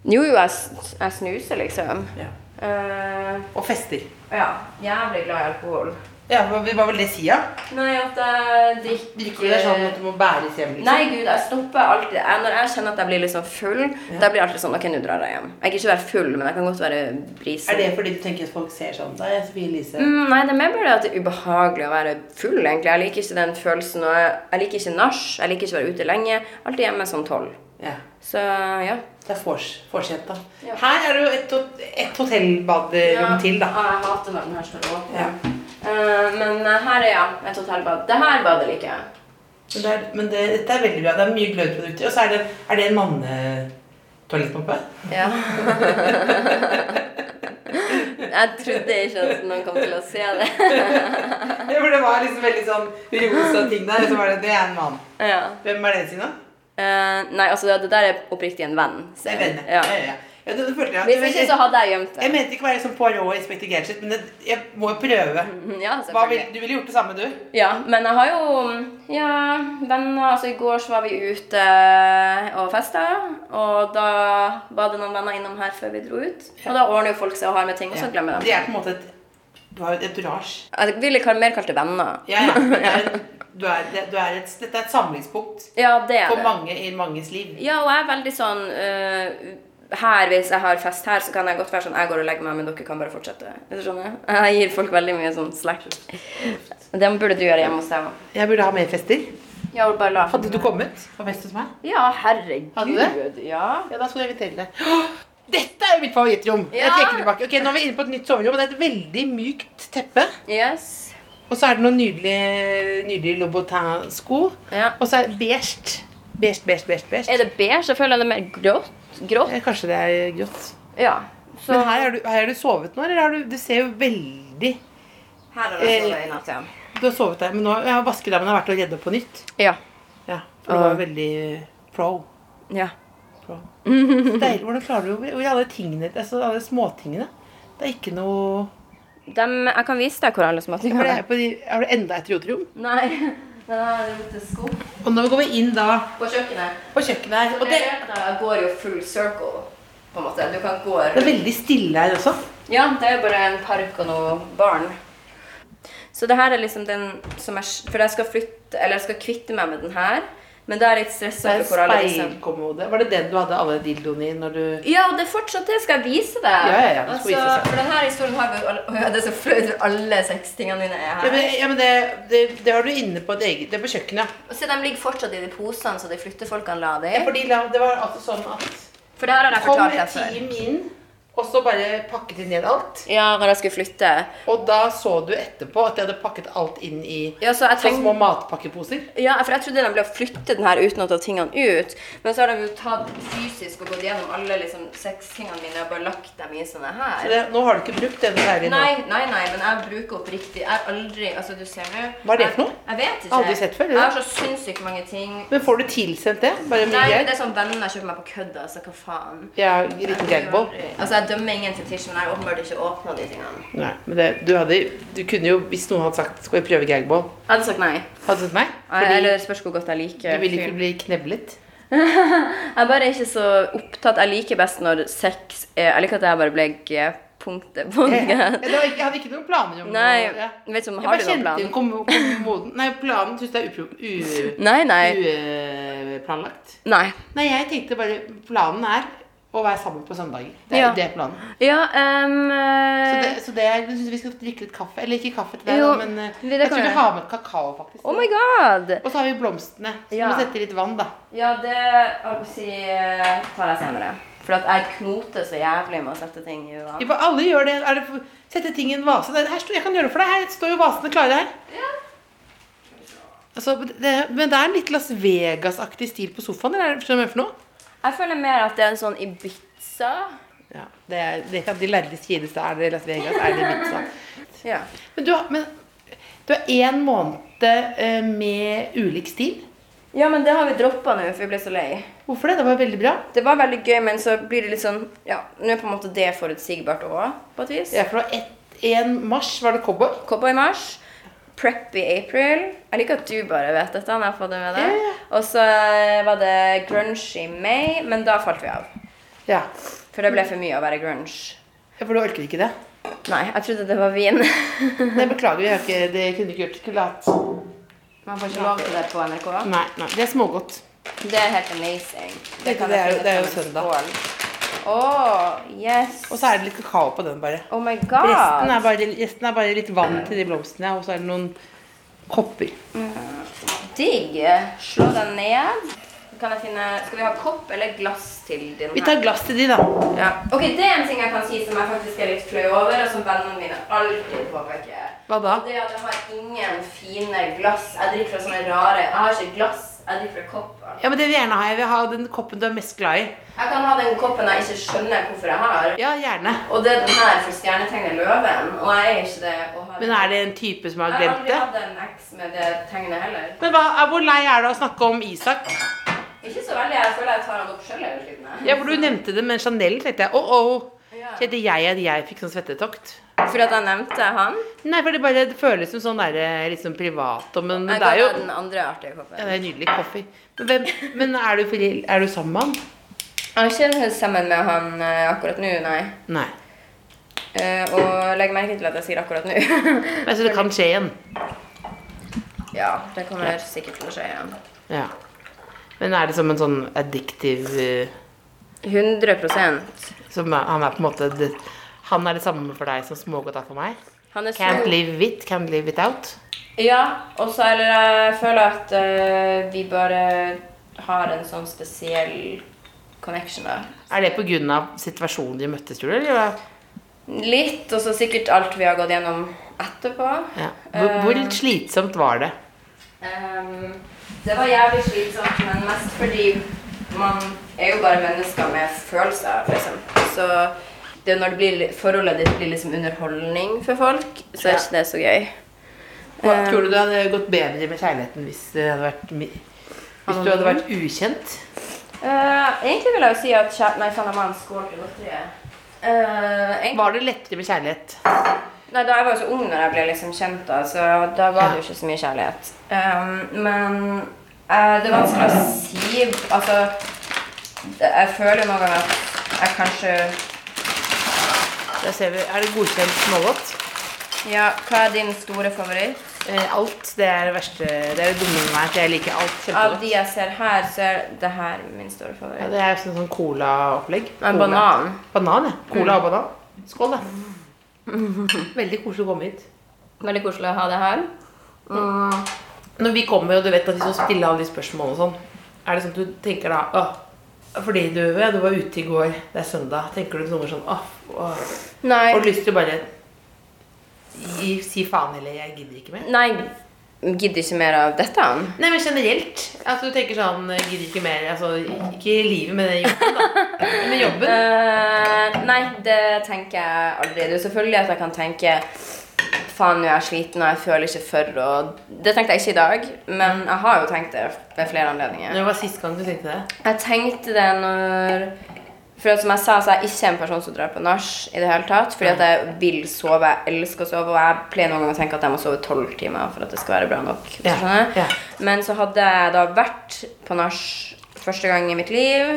Speaker 3: Jo, jo, jeg, s- jeg snuser, liksom.
Speaker 4: Ja.
Speaker 3: Eh,
Speaker 4: Og fester.
Speaker 3: ja. Jævlig glad i alkohol.
Speaker 4: Ja, hva hva vil det si, da?
Speaker 3: Nei, at jeg drikker
Speaker 4: Drikker du deg sånn at du må bæres hjem? liksom?
Speaker 3: Nei, gud, jeg stopper alltid. Jeg, når jeg kjenner at jeg blir litt sånn full, da blir jeg alltid sånn OK, nå drar jeg hjem. Jeg kan ikke være full, men jeg kan godt være brisen.
Speaker 4: Er det fordi du tenker at folk ser sånn? Da er jeg Sofie Elise.
Speaker 3: Mm, Nei, det er mer bare det at det er ubehagelig å være full, egentlig. Jeg liker ikke den følelsen, og jeg, jeg liker ikke nach. Jeg liker ikke å være ute lenge. Alltid hjemme sånn tolv.
Speaker 4: Ja.
Speaker 3: Så ja.
Speaker 4: Det er vors- forsett, da. Her er det jo et, hot- et hotellbaderom til, da.
Speaker 3: Ja, jeg hater når den her står åpen.
Speaker 4: Ja.
Speaker 3: Eh, men eh, her er ja, et hotellbad. Det her badet liker jeg.
Speaker 4: Men, det er, men det, dette er veldig bra. Det er mye glødprodukter. Og så er det, er det en mannetoalettpumpe?
Speaker 3: Ja. [LAUGHS] jeg trodde ikke at noen kom til å se det. [LAUGHS]
Speaker 4: Ja, for det var liksom veldig sånn rosa ting der. Og så var det det er en mann.
Speaker 3: ja.
Speaker 4: Hvem er det sin, da?
Speaker 3: Eh, nei, altså det, det der er oppriktig en venn. Så,
Speaker 4: Det er vennen.
Speaker 3: Ja.
Speaker 4: ja, ja. ja det, det følte jeg.
Speaker 3: Hvis ikke, så hadde jeg gjemt
Speaker 4: Jeg
Speaker 3: det.
Speaker 4: mente ikke å være sånn Poirot og Inspector Gadget, men det, jeg må jo prøve.
Speaker 3: Ja,
Speaker 4: Hva
Speaker 3: selvfølgelig.
Speaker 4: vil, du ville gjort det samme, du.
Speaker 3: Ja, men jeg har jo ja, venner. Altså, I går så var vi ute eh, og festa, og da var det noen venner innom her før vi dro ut. Og da ordner jo folk seg og har med ting, og så glemmer
Speaker 4: Det
Speaker 3: de
Speaker 4: er på en måte et Du har jo et entourage.
Speaker 3: Jeg ville kall- mer kalt det venner.
Speaker 4: Ja, ja.
Speaker 3: [LAUGHS]
Speaker 4: Det er, du er, det- du er et, dette er et samlingspunkt
Speaker 3: Ja, det er
Speaker 4: for
Speaker 3: det.
Speaker 4: mange i manges liv.
Speaker 3: Ja, og jeg er veldig sånn øh, her, Hvis jeg har fest her, så kan jeg godt være sånn Jeg går og legger meg, men dere kan bare fortsette. Er du skjønner? [LAUGHS] Jeg gir folk veldig mye sånn slack. Det burde du gjøre hjemme hos deg òg.
Speaker 4: Jeg burde ha mer fester.
Speaker 3: Ja, og bare la
Speaker 4: Hadde du kommet på fest hos meg?
Speaker 3: Ja, herregud.
Speaker 4: Hadde du
Speaker 3: Ja.
Speaker 4: Ja, da skulle jeg invitere deg. Åh, Dette er jo mitt favorittrom! Jeg
Speaker 3: Ja.
Speaker 4: trekker tilbake. Ok, Nå er vi inne på et nytt soverom. og Det er et veldig mykt teppe.
Speaker 3: Yes.
Speaker 4: Og så er det noen nydelige, nydelige Lobotin-sko.
Speaker 3: Ja.
Speaker 4: Og så er det beige. Beige, beige, beige. beige.
Speaker 3: Er det beige? Jeg føler det er mer grått. Grått?
Speaker 4: Eh, Kanskje det er grått.
Speaker 3: Ja. Så
Speaker 4: Men her har, du, her har du sovet nå, eller har du Du ser jo veldig
Speaker 3: her har
Speaker 4: eh,
Speaker 3: jeg sovet i natt, ja.
Speaker 4: Du har sovet der, men nå ja, vaskedammen har vært og redda på nytt.
Speaker 3: Ja.
Speaker 4: Ja, For du var jo veldig pro.
Speaker 3: ja.
Speaker 4: pro. Så Deilig. Hvordan klarer du å over alle tingene Altså alle småtingene? Det er ikke noe
Speaker 3: Dem, jeg kan vise deg hvor alle
Speaker 4: Har
Speaker 3: småtingene
Speaker 4: du,
Speaker 3: er.
Speaker 4: på de, har du enda et roterom?
Speaker 3: Nei. [LAUGHS] Den har rotet sko
Speaker 4: Og nå går vi inn da
Speaker 3: på kjøkkenet.
Speaker 4: på kjøkkenet her. Og det,
Speaker 3: Leiligheten går jo full circle, på en måte. Du kan gå
Speaker 4: det er veldig stille her også.
Speaker 3: Ja, det er bare en park og noen barn. Så det her er liksom den som jeg For jeg skal flytte Eller jeg skal kvitte meg med den her. Men da er jeg litt
Speaker 4: Det
Speaker 3: stressa
Speaker 4: er en
Speaker 3: for hvor alle disse
Speaker 4: speilkommode. Var det den du hadde alle dildoene i når du
Speaker 3: Ja, og det er fortsatt det. Skal jeg vise deg?
Speaker 4: Ja, ja, ja, du skal
Speaker 3: altså,
Speaker 4: vise seg.
Speaker 3: For denne historien har vi alle- Å [LAUGHS] ja, Det er så flaut for alle sextingene mine er
Speaker 4: Ja,
Speaker 3: her.
Speaker 4: men, ja, men det, det, det har du inne på et eget Det er på kjøkkenet.
Speaker 3: Og Se, de ligger fortsatt i de posene som de flyttefolkene la det
Speaker 4: Ja,
Speaker 3: i.
Speaker 4: fordi la, det var altså sånn at
Speaker 3: For det her har jeg
Speaker 4: Kom
Speaker 3: fortalt deg
Speaker 4: et
Speaker 3: før.
Speaker 4: team inn, og så bare pakket de ned alt.
Speaker 3: Ja, når jeg skulle flytte.
Speaker 4: Og da så du etterpå at de hadde pakket alt inn i
Speaker 3: Ja, så jeg
Speaker 4: så
Speaker 3: tenkte
Speaker 4: små matpakkeposer.
Speaker 3: Ja, for jeg trodde de ble å flytte den her uten å ta tingene ut. Men så har de jo tatt fysisk og gått gjennom alle liksom, sextingene mine og bare lagt dem i sånne
Speaker 4: Så
Speaker 3: her.
Speaker 4: det, nå har du ikke brukt den der nå.
Speaker 3: Nei, nei, nei, men jeg bruker oppriktig Jeg har aldri Altså, du ser nå
Speaker 4: Hva er det for noe?
Speaker 3: Jeg, jeg vet ikke.
Speaker 4: Aldri sett før, eller?
Speaker 3: Jeg har så sinnssykt mange ting.
Speaker 4: Men får du tilsendt det? Bare mye
Speaker 3: Nei, men
Speaker 4: greier?
Speaker 3: det er sånn venner kjøper meg på kødd, altså. Hva faen?
Speaker 4: Ja, en liten gagball.
Speaker 3: Altså, jeg dømmer ingen fetisj, men jeg har åpenbart ikke åpna de tingene.
Speaker 4: Nei, men det, du hadde Du kunne jo, hvis noen hadde sagt 'skal vi prøve gagball',
Speaker 3: Jeg hadde sagt nei.
Speaker 4: hadde du sagt nei?
Speaker 3: Eller spørs hvor godt jeg liker
Speaker 4: Du ville ikke
Speaker 3: fyren.
Speaker 4: bli
Speaker 3: [LAUGHS]
Speaker 4: kneblet.
Speaker 3: Jeg er bare ikke så opptatt. Jeg liker best når sex er Jeg liker at jeg bare ble G-punktet
Speaker 4: [LAUGHS]
Speaker 3: på
Speaker 4: Jeg,
Speaker 3: det.
Speaker 4: jeg hadde ikke noen planer om
Speaker 3: Nei,
Speaker 4: noe.
Speaker 3: vet du om
Speaker 4: Jeg
Speaker 3: har
Speaker 4: bare
Speaker 3: du noen
Speaker 4: kjente
Speaker 3: plan?
Speaker 4: inn kommo- kommoden Nei, planen syns jeg er upro- u-
Speaker 3: Nei, nei.
Speaker 4: uplanlagt.
Speaker 3: Nei.
Speaker 4: Nei, jeg tenkte bare Planen er å være sammen på søndager. Det er
Speaker 3: Ja.
Speaker 4: det er planen.
Speaker 3: Ja, ehm
Speaker 4: Så
Speaker 3: eh,
Speaker 4: det, så det er, jeg syns vi skal drikke litt kaffe. Eller ikke kaffe til deg, da,
Speaker 3: Jo,
Speaker 4: men eh,
Speaker 3: det
Speaker 4: jeg
Speaker 3: kan
Speaker 4: tror
Speaker 3: vi
Speaker 4: vi
Speaker 3: gjøre.
Speaker 4: har med kakao, faktisk.
Speaker 3: Oh my god!
Speaker 4: Og så har vi blomstene. Så vi
Speaker 3: Ja.
Speaker 4: må sette litt vann, da.
Speaker 3: Ja, det holdt på å si eh, tar jeg senere. For at jeg knoter så jævlig med å sette ting i
Speaker 4: Vi
Speaker 3: uvann.
Speaker 4: bare, alle gjør det. Er det for, sette ting i en vase. Det, her står, jeg kan gjøre det for deg. Her står jo vasene klare her. Altså, det, men det er litt Las Vegas-aktig stil på sofaen. Eller er det skjønner du hva jeg mener for noe?
Speaker 3: Jeg føler mer at det er en sånn Ibiza.
Speaker 4: Ja, det er, det er ikke at de lærde strides, da er det Las Vegas, er det Ibiza.
Speaker 3: Ja.
Speaker 4: [LAUGHS] Men du har, men, du har én måned eh, med ulik stil.
Speaker 3: ja, men det har vi droppa nå, for vi ble så lei.
Speaker 4: Hvorfor det? Det var veldig bra.
Speaker 3: Det var veldig gøy, men så blir det litt sånn Ja, nå er på en måte det forutsigbart òg, på et vis.
Speaker 4: Ja, for det var ett- en mars var det cowboy.
Speaker 3: Cowboy Mars. Preppy April. Jeg liker at du bare vet dette. når jeg har fått det med deg.
Speaker 4: Ja, ja.
Speaker 3: Og så eh, var det grunge i May, men da falt vi av.
Speaker 4: Ja,
Speaker 3: For det ble for mye å være grunge.
Speaker 4: Ja, for du orker ikke det.
Speaker 3: Nei, jeg trodde det
Speaker 4: [LAUGHS]
Speaker 3: var vin.
Speaker 4: Nei, beklager, jeg har ikke, det kunne du ikke gjort. Skulle hatt
Speaker 3: Man får ikke lov til det på NRK.
Speaker 4: Nei, nei, det er smågodt.
Speaker 3: Det er helt amazing.
Speaker 4: Det
Speaker 3: kan
Speaker 4: er jo-
Speaker 3: jeg finne
Speaker 4: det er jo
Speaker 3: fram en
Speaker 4: søndag.
Speaker 3: skål. Åh, yes.
Speaker 4: Og så er det litt kakao på den, bare.
Speaker 3: Oh my god.
Speaker 4: Resten er bare, resten er bare litt vann til de blomstene, og så er det noen kopper.
Speaker 3: Digg. Slå den ned. Kan jeg finne Skal vi ha kopp eller glass til din
Speaker 4: Vi tar glass til de, da.
Speaker 3: Ja. Ok, det er en ting jeg kan si som jeg faktisk er litt flau over, og som vennene mine alltid påpeker.
Speaker 4: Hva da?
Speaker 3: Og Det er at jeg har ingen fine glass. Jeg drikker fra sånne rare Jeg har ikke glass, jeg drikker fra kopper.
Speaker 4: Ja, men det vil jeg gjerne ha. Jeg vil ha den koppen du er mest glad i.
Speaker 3: Jeg kan ha den koppen jeg ikke skjønner hvorfor jeg har.
Speaker 4: Ja, gjerne.
Speaker 3: Og det er den her for stjernetegnet løven, og jeg er ikke det å ha
Speaker 4: Men er det en type som har
Speaker 3: Jeg har
Speaker 4: glemt
Speaker 3: aldri
Speaker 4: det?
Speaker 3: hatt en eks med det tegnet heller.
Speaker 4: Men hva, er- hvor lei er du av å snakke om Isak?
Speaker 3: Ikke så veldig. Jeg føler jeg tar han opp sjøl hele tiden. jeg.
Speaker 4: Ja, for du nevnte det, men Chanel tenkte jeg, åh, åh.
Speaker 3: Ja.
Speaker 4: Kjente jeg at jeg fikk sånn svettetokt?
Speaker 3: Fordi at jeg nevnte han?
Speaker 4: Nei, for det bare det føles som sånn der, liksom privat, og- men, men
Speaker 3: Jeg
Speaker 4: det er
Speaker 3: kan
Speaker 4: jo...
Speaker 3: ha den andre artige koppen.
Speaker 4: Ja, det er nydelig kaffe. Men, hvem, men er, du, forel- er du sammen med han?
Speaker 3: Jeg er ikke sammen med han eh, akkurat nå, nei.
Speaker 4: Nei.
Speaker 3: Eh, og legg merke til at jeg sier akkurat nå. [LAUGHS]
Speaker 4: Men jeg synes det kan skje igjen.
Speaker 3: ja, det kommer sikkert til å skje igjen.
Speaker 4: Ja. Men er det som en sånn addiktiv eh,
Speaker 3: 100
Speaker 4: som er, Han er på en måte det, Han er det samme for deg som smågodt er for meg?
Speaker 3: Han er
Speaker 4: Can't
Speaker 3: så-
Speaker 4: live with, can't live without.
Speaker 3: Ja, og så eller jeg føler at eh, vi bare har en sånn spesiell connection, da.
Speaker 4: Er det på grunn av situasjonen de møttes, tror du? Eller? hva?
Speaker 3: Litt, og så sikkert alt vi har gått gjennom etterpå.
Speaker 4: Ja. Eh. Hvor, hvor slitsomt var det?
Speaker 3: Ehm, det var jævlig slitsomt, men mest fordi man er jo bare mennesker med følelser, liksom. Så Det er jo når det blir, forholdet ditt blir liksom underholdning for folk, så er
Speaker 4: Ja.
Speaker 3: ikke det så gøy.
Speaker 4: Hva,
Speaker 3: Eh,
Speaker 4: tror du det hadde gått bedre med kjærligheten hvis det hadde vært mi- Hvis du hadde vært ukjent?
Speaker 3: Eh, egentlig vil jeg jo si at kjæ- Nei, faen, jeg må ha en skål til godteriet. Eh, egentlig-
Speaker 4: Var det lettere med kjærlighet?
Speaker 3: Nei, da jeg var jo så ung når jeg ble liksom kjent, da, så da var det jo ikke så mye kjærlighet. Ehm, men eh, det er vanskelig å si Altså, det- jeg føler jo noen ganger at jeg kanskje
Speaker 4: Da ser vi, Er det godkjent smågodt?
Speaker 3: Ja, hva er din store favoritt?
Speaker 4: Eh, alt. Det er det verste Det er det dumme med meg, at jeg liker alt
Speaker 3: Av
Speaker 4: kjempegodt.
Speaker 3: de jeg ser her, så er det her min store
Speaker 4: Ja,
Speaker 3: favoritt.
Speaker 4: det er sånn, sånn cola-opplegg.
Speaker 3: En
Speaker 4: Cola.
Speaker 3: banan.
Speaker 4: Banan, ja. Cola og banan. [LAUGHS] Skål, da. Veldig koselig å komme hit.
Speaker 3: Veldig koselig å ha det her.
Speaker 4: Når vi kommer, og du vet at vi skal stille alle de spørsmålene og sånn, er det sånn at du tenker da Åh, fordi du, ja, du var ute i går, det er søndag, tenker du noen ganger sånn Åh, åh. Har du
Speaker 3: Nei,
Speaker 4: lyst til å bare gi, si faen eller jeg gidder ikke mer?
Speaker 3: nei gidder ikke mer av dette. han.
Speaker 4: Nei, men generelt. Altså, du tenker sånn jeg Gidder ikke mer. Altså, ikke i livet, men i [LAUGHS] jobben, da. Men i jobben.
Speaker 3: Eh, nei, det tenker jeg aldri. Det er jo selvfølgelig at jeg kan tenke Faen, nå er jeg sliten, og jeg føler ikke for å Det tenkte jeg ikke i dag, men jeg har jo tenkt det ved flere anledninger.
Speaker 4: Når var sist gang du tenkte det?
Speaker 3: Jeg tenkte det når For at som jeg sa, så er jeg ikke en person som drar på nach i det hele tatt. Fordi at jeg vil sove, jeg elsker å sove, og jeg pleier noen ganger å tenke at jeg må sove tolv timer for at det skal være bra nok. hvis du
Speaker 4: Ja,
Speaker 3: skjønner.
Speaker 4: ja.
Speaker 3: Men så hadde jeg da vært på nach første gang i mitt liv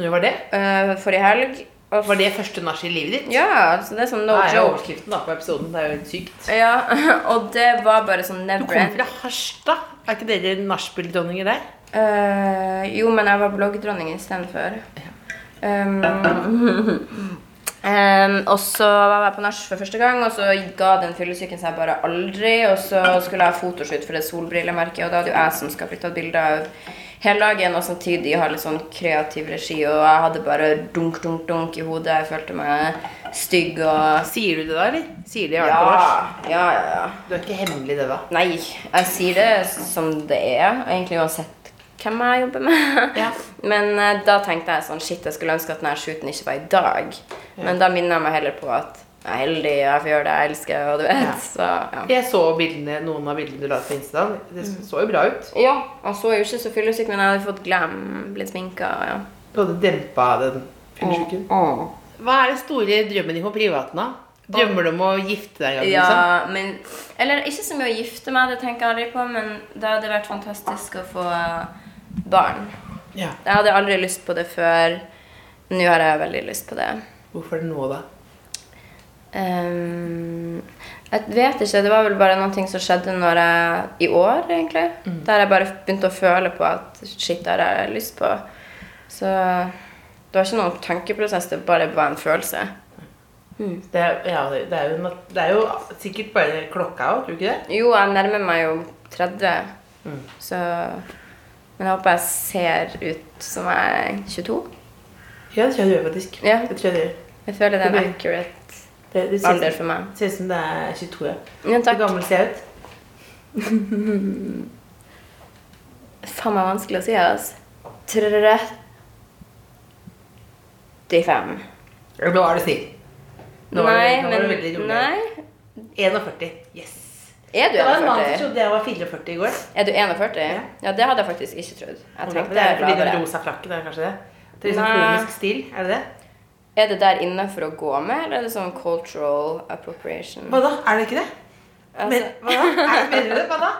Speaker 4: Når var det?
Speaker 3: eh, forrige helg. Og
Speaker 4: Var det første nach i livet ditt?
Speaker 3: ja, så det er sånn no
Speaker 4: Det er jo
Speaker 3: joke.
Speaker 4: overskriften da på episoden. Det er jo helt sykt.
Speaker 3: Ja, [LAUGHS] og det var bare sånn
Speaker 4: Du
Speaker 3: never
Speaker 4: kommer
Speaker 3: end.
Speaker 4: fra Harstad. Er ikke dere nachspiel-dronninger der?
Speaker 3: Eh, jo, men jeg var bloggdronning istedenfor. Um, [LAUGHS] um, og så var jeg på nach for første gang, og så ga den fyllesyken seg bare aldri. Og så skulle jeg ha fotoshoot for det solbrillemerket, og da er det jo jeg som skal bli tatt bilde av hele dagen, og samtidig ha litt sånn kreativ regi, og jeg hadde bare dunk, dunk, dunk i hodet. Jeg følte meg stygg og
Speaker 4: Sier du det da, eller? Sier de har vært på nach?
Speaker 3: Ja, ja, ja. ja.
Speaker 4: Du er ikke hemmelig, det da.
Speaker 3: Nei, jeg sier det som det er, egentlig uansett hvem jeg jobber med.
Speaker 4: Ja.
Speaker 3: [LAUGHS] Men eh, da tenkte jeg sånn, shit, jeg skulle ønske at denne shooten ikke var i dag. Men da minner jeg meg heller på at jeg er heldig, og jeg får gjøre det jeg elsker, og du vet,
Speaker 4: Ja.
Speaker 3: så ja.
Speaker 4: Jeg så bildene, noen av bildene du la ut på Insta. Det så jo bra ut.
Speaker 3: Ja, jeg så jo ikke så fyllesyk, men jeg hadde fått glam, blitt sminka, ja.
Speaker 4: Du hadde dempa den fyllesyken. Hva er den store drømmen din på privaten, da? Drømmer du om å gifte deg en gang? liksom?
Speaker 3: Ja, men Eller ikke så mye å gifte meg, det tenker jeg aldri på, men det hadde vært fantastisk å få barn.
Speaker 4: Ja.
Speaker 3: Jeg hadde aldri lyst på det før. Nå har jeg veldig lyst på det.
Speaker 4: Hvorfor det nå, da?
Speaker 3: Ehm, jeg vet ikke. Det var vel bare noen ting som skjedde når jeg, i år, egentlig. Der jeg bare begynte å føle på at shit, det har jeg lyst på. Så det var ikke noen tankeprosess, det bare var en følelse.
Speaker 4: Det er, ja, det er, jo, nat- det er jo sikkert bare klokka òg, tror du ikke det?
Speaker 3: Jo, jeg nærmer meg jo 30, så Men jeg håper jeg ser ut som jeg er 22.
Speaker 4: Ja, det tror jeg du gjør, faktisk.
Speaker 3: Ja.
Speaker 4: Det tror jeg du gjør.
Speaker 3: Jeg føler det er en
Speaker 4: Ok.
Speaker 3: accurate
Speaker 4: Det, det ser,
Speaker 3: alder for meg.
Speaker 4: ser ut som det er 22, ja.
Speaker 3: Ja,
Speaker 4: Hvor
Speaker 3: takk.
Speaker 4: gammel ser jeg ut?
Speaker 3: Faen meg vanskelig å si, altså. 35.
Speaker 4: Ja, Nå er du snill. Nå var
Speaker 3: Nei,
Speaker 4: du- nå var du veldig
Speaker 3: men
Speaker 4: rolig.
Speaker 3: Nei.
Speaker 4: 41. Yes.
Speaker 3: Er du
Speaker 4: Det var en mann som
Speaker 3: 41?
Speaker 4: trodde jeg var 44 i går.
Speaker 3: Er du 41? Ja, det hadde jeg faktisk ikke trodd. Jeg
Speaker 4: Det
Speaker 3: tenkte
Speaker 4: er fordi den
Speaker 3: lavere.
Speaker 4: rosa frakken er kanskje det? Det er litt sånn
Speaker 3: Nei.
Speaker 4: komisk stil, er det det?
Speaker 3: Er det der inne for å gå med, eller er det sånn cultural appropriation?
Speaker 4: Hva da? Er det ikke det? Men,
Speaker 3: Altså,
Speaker 4: hva da? Er det bedre, hva da?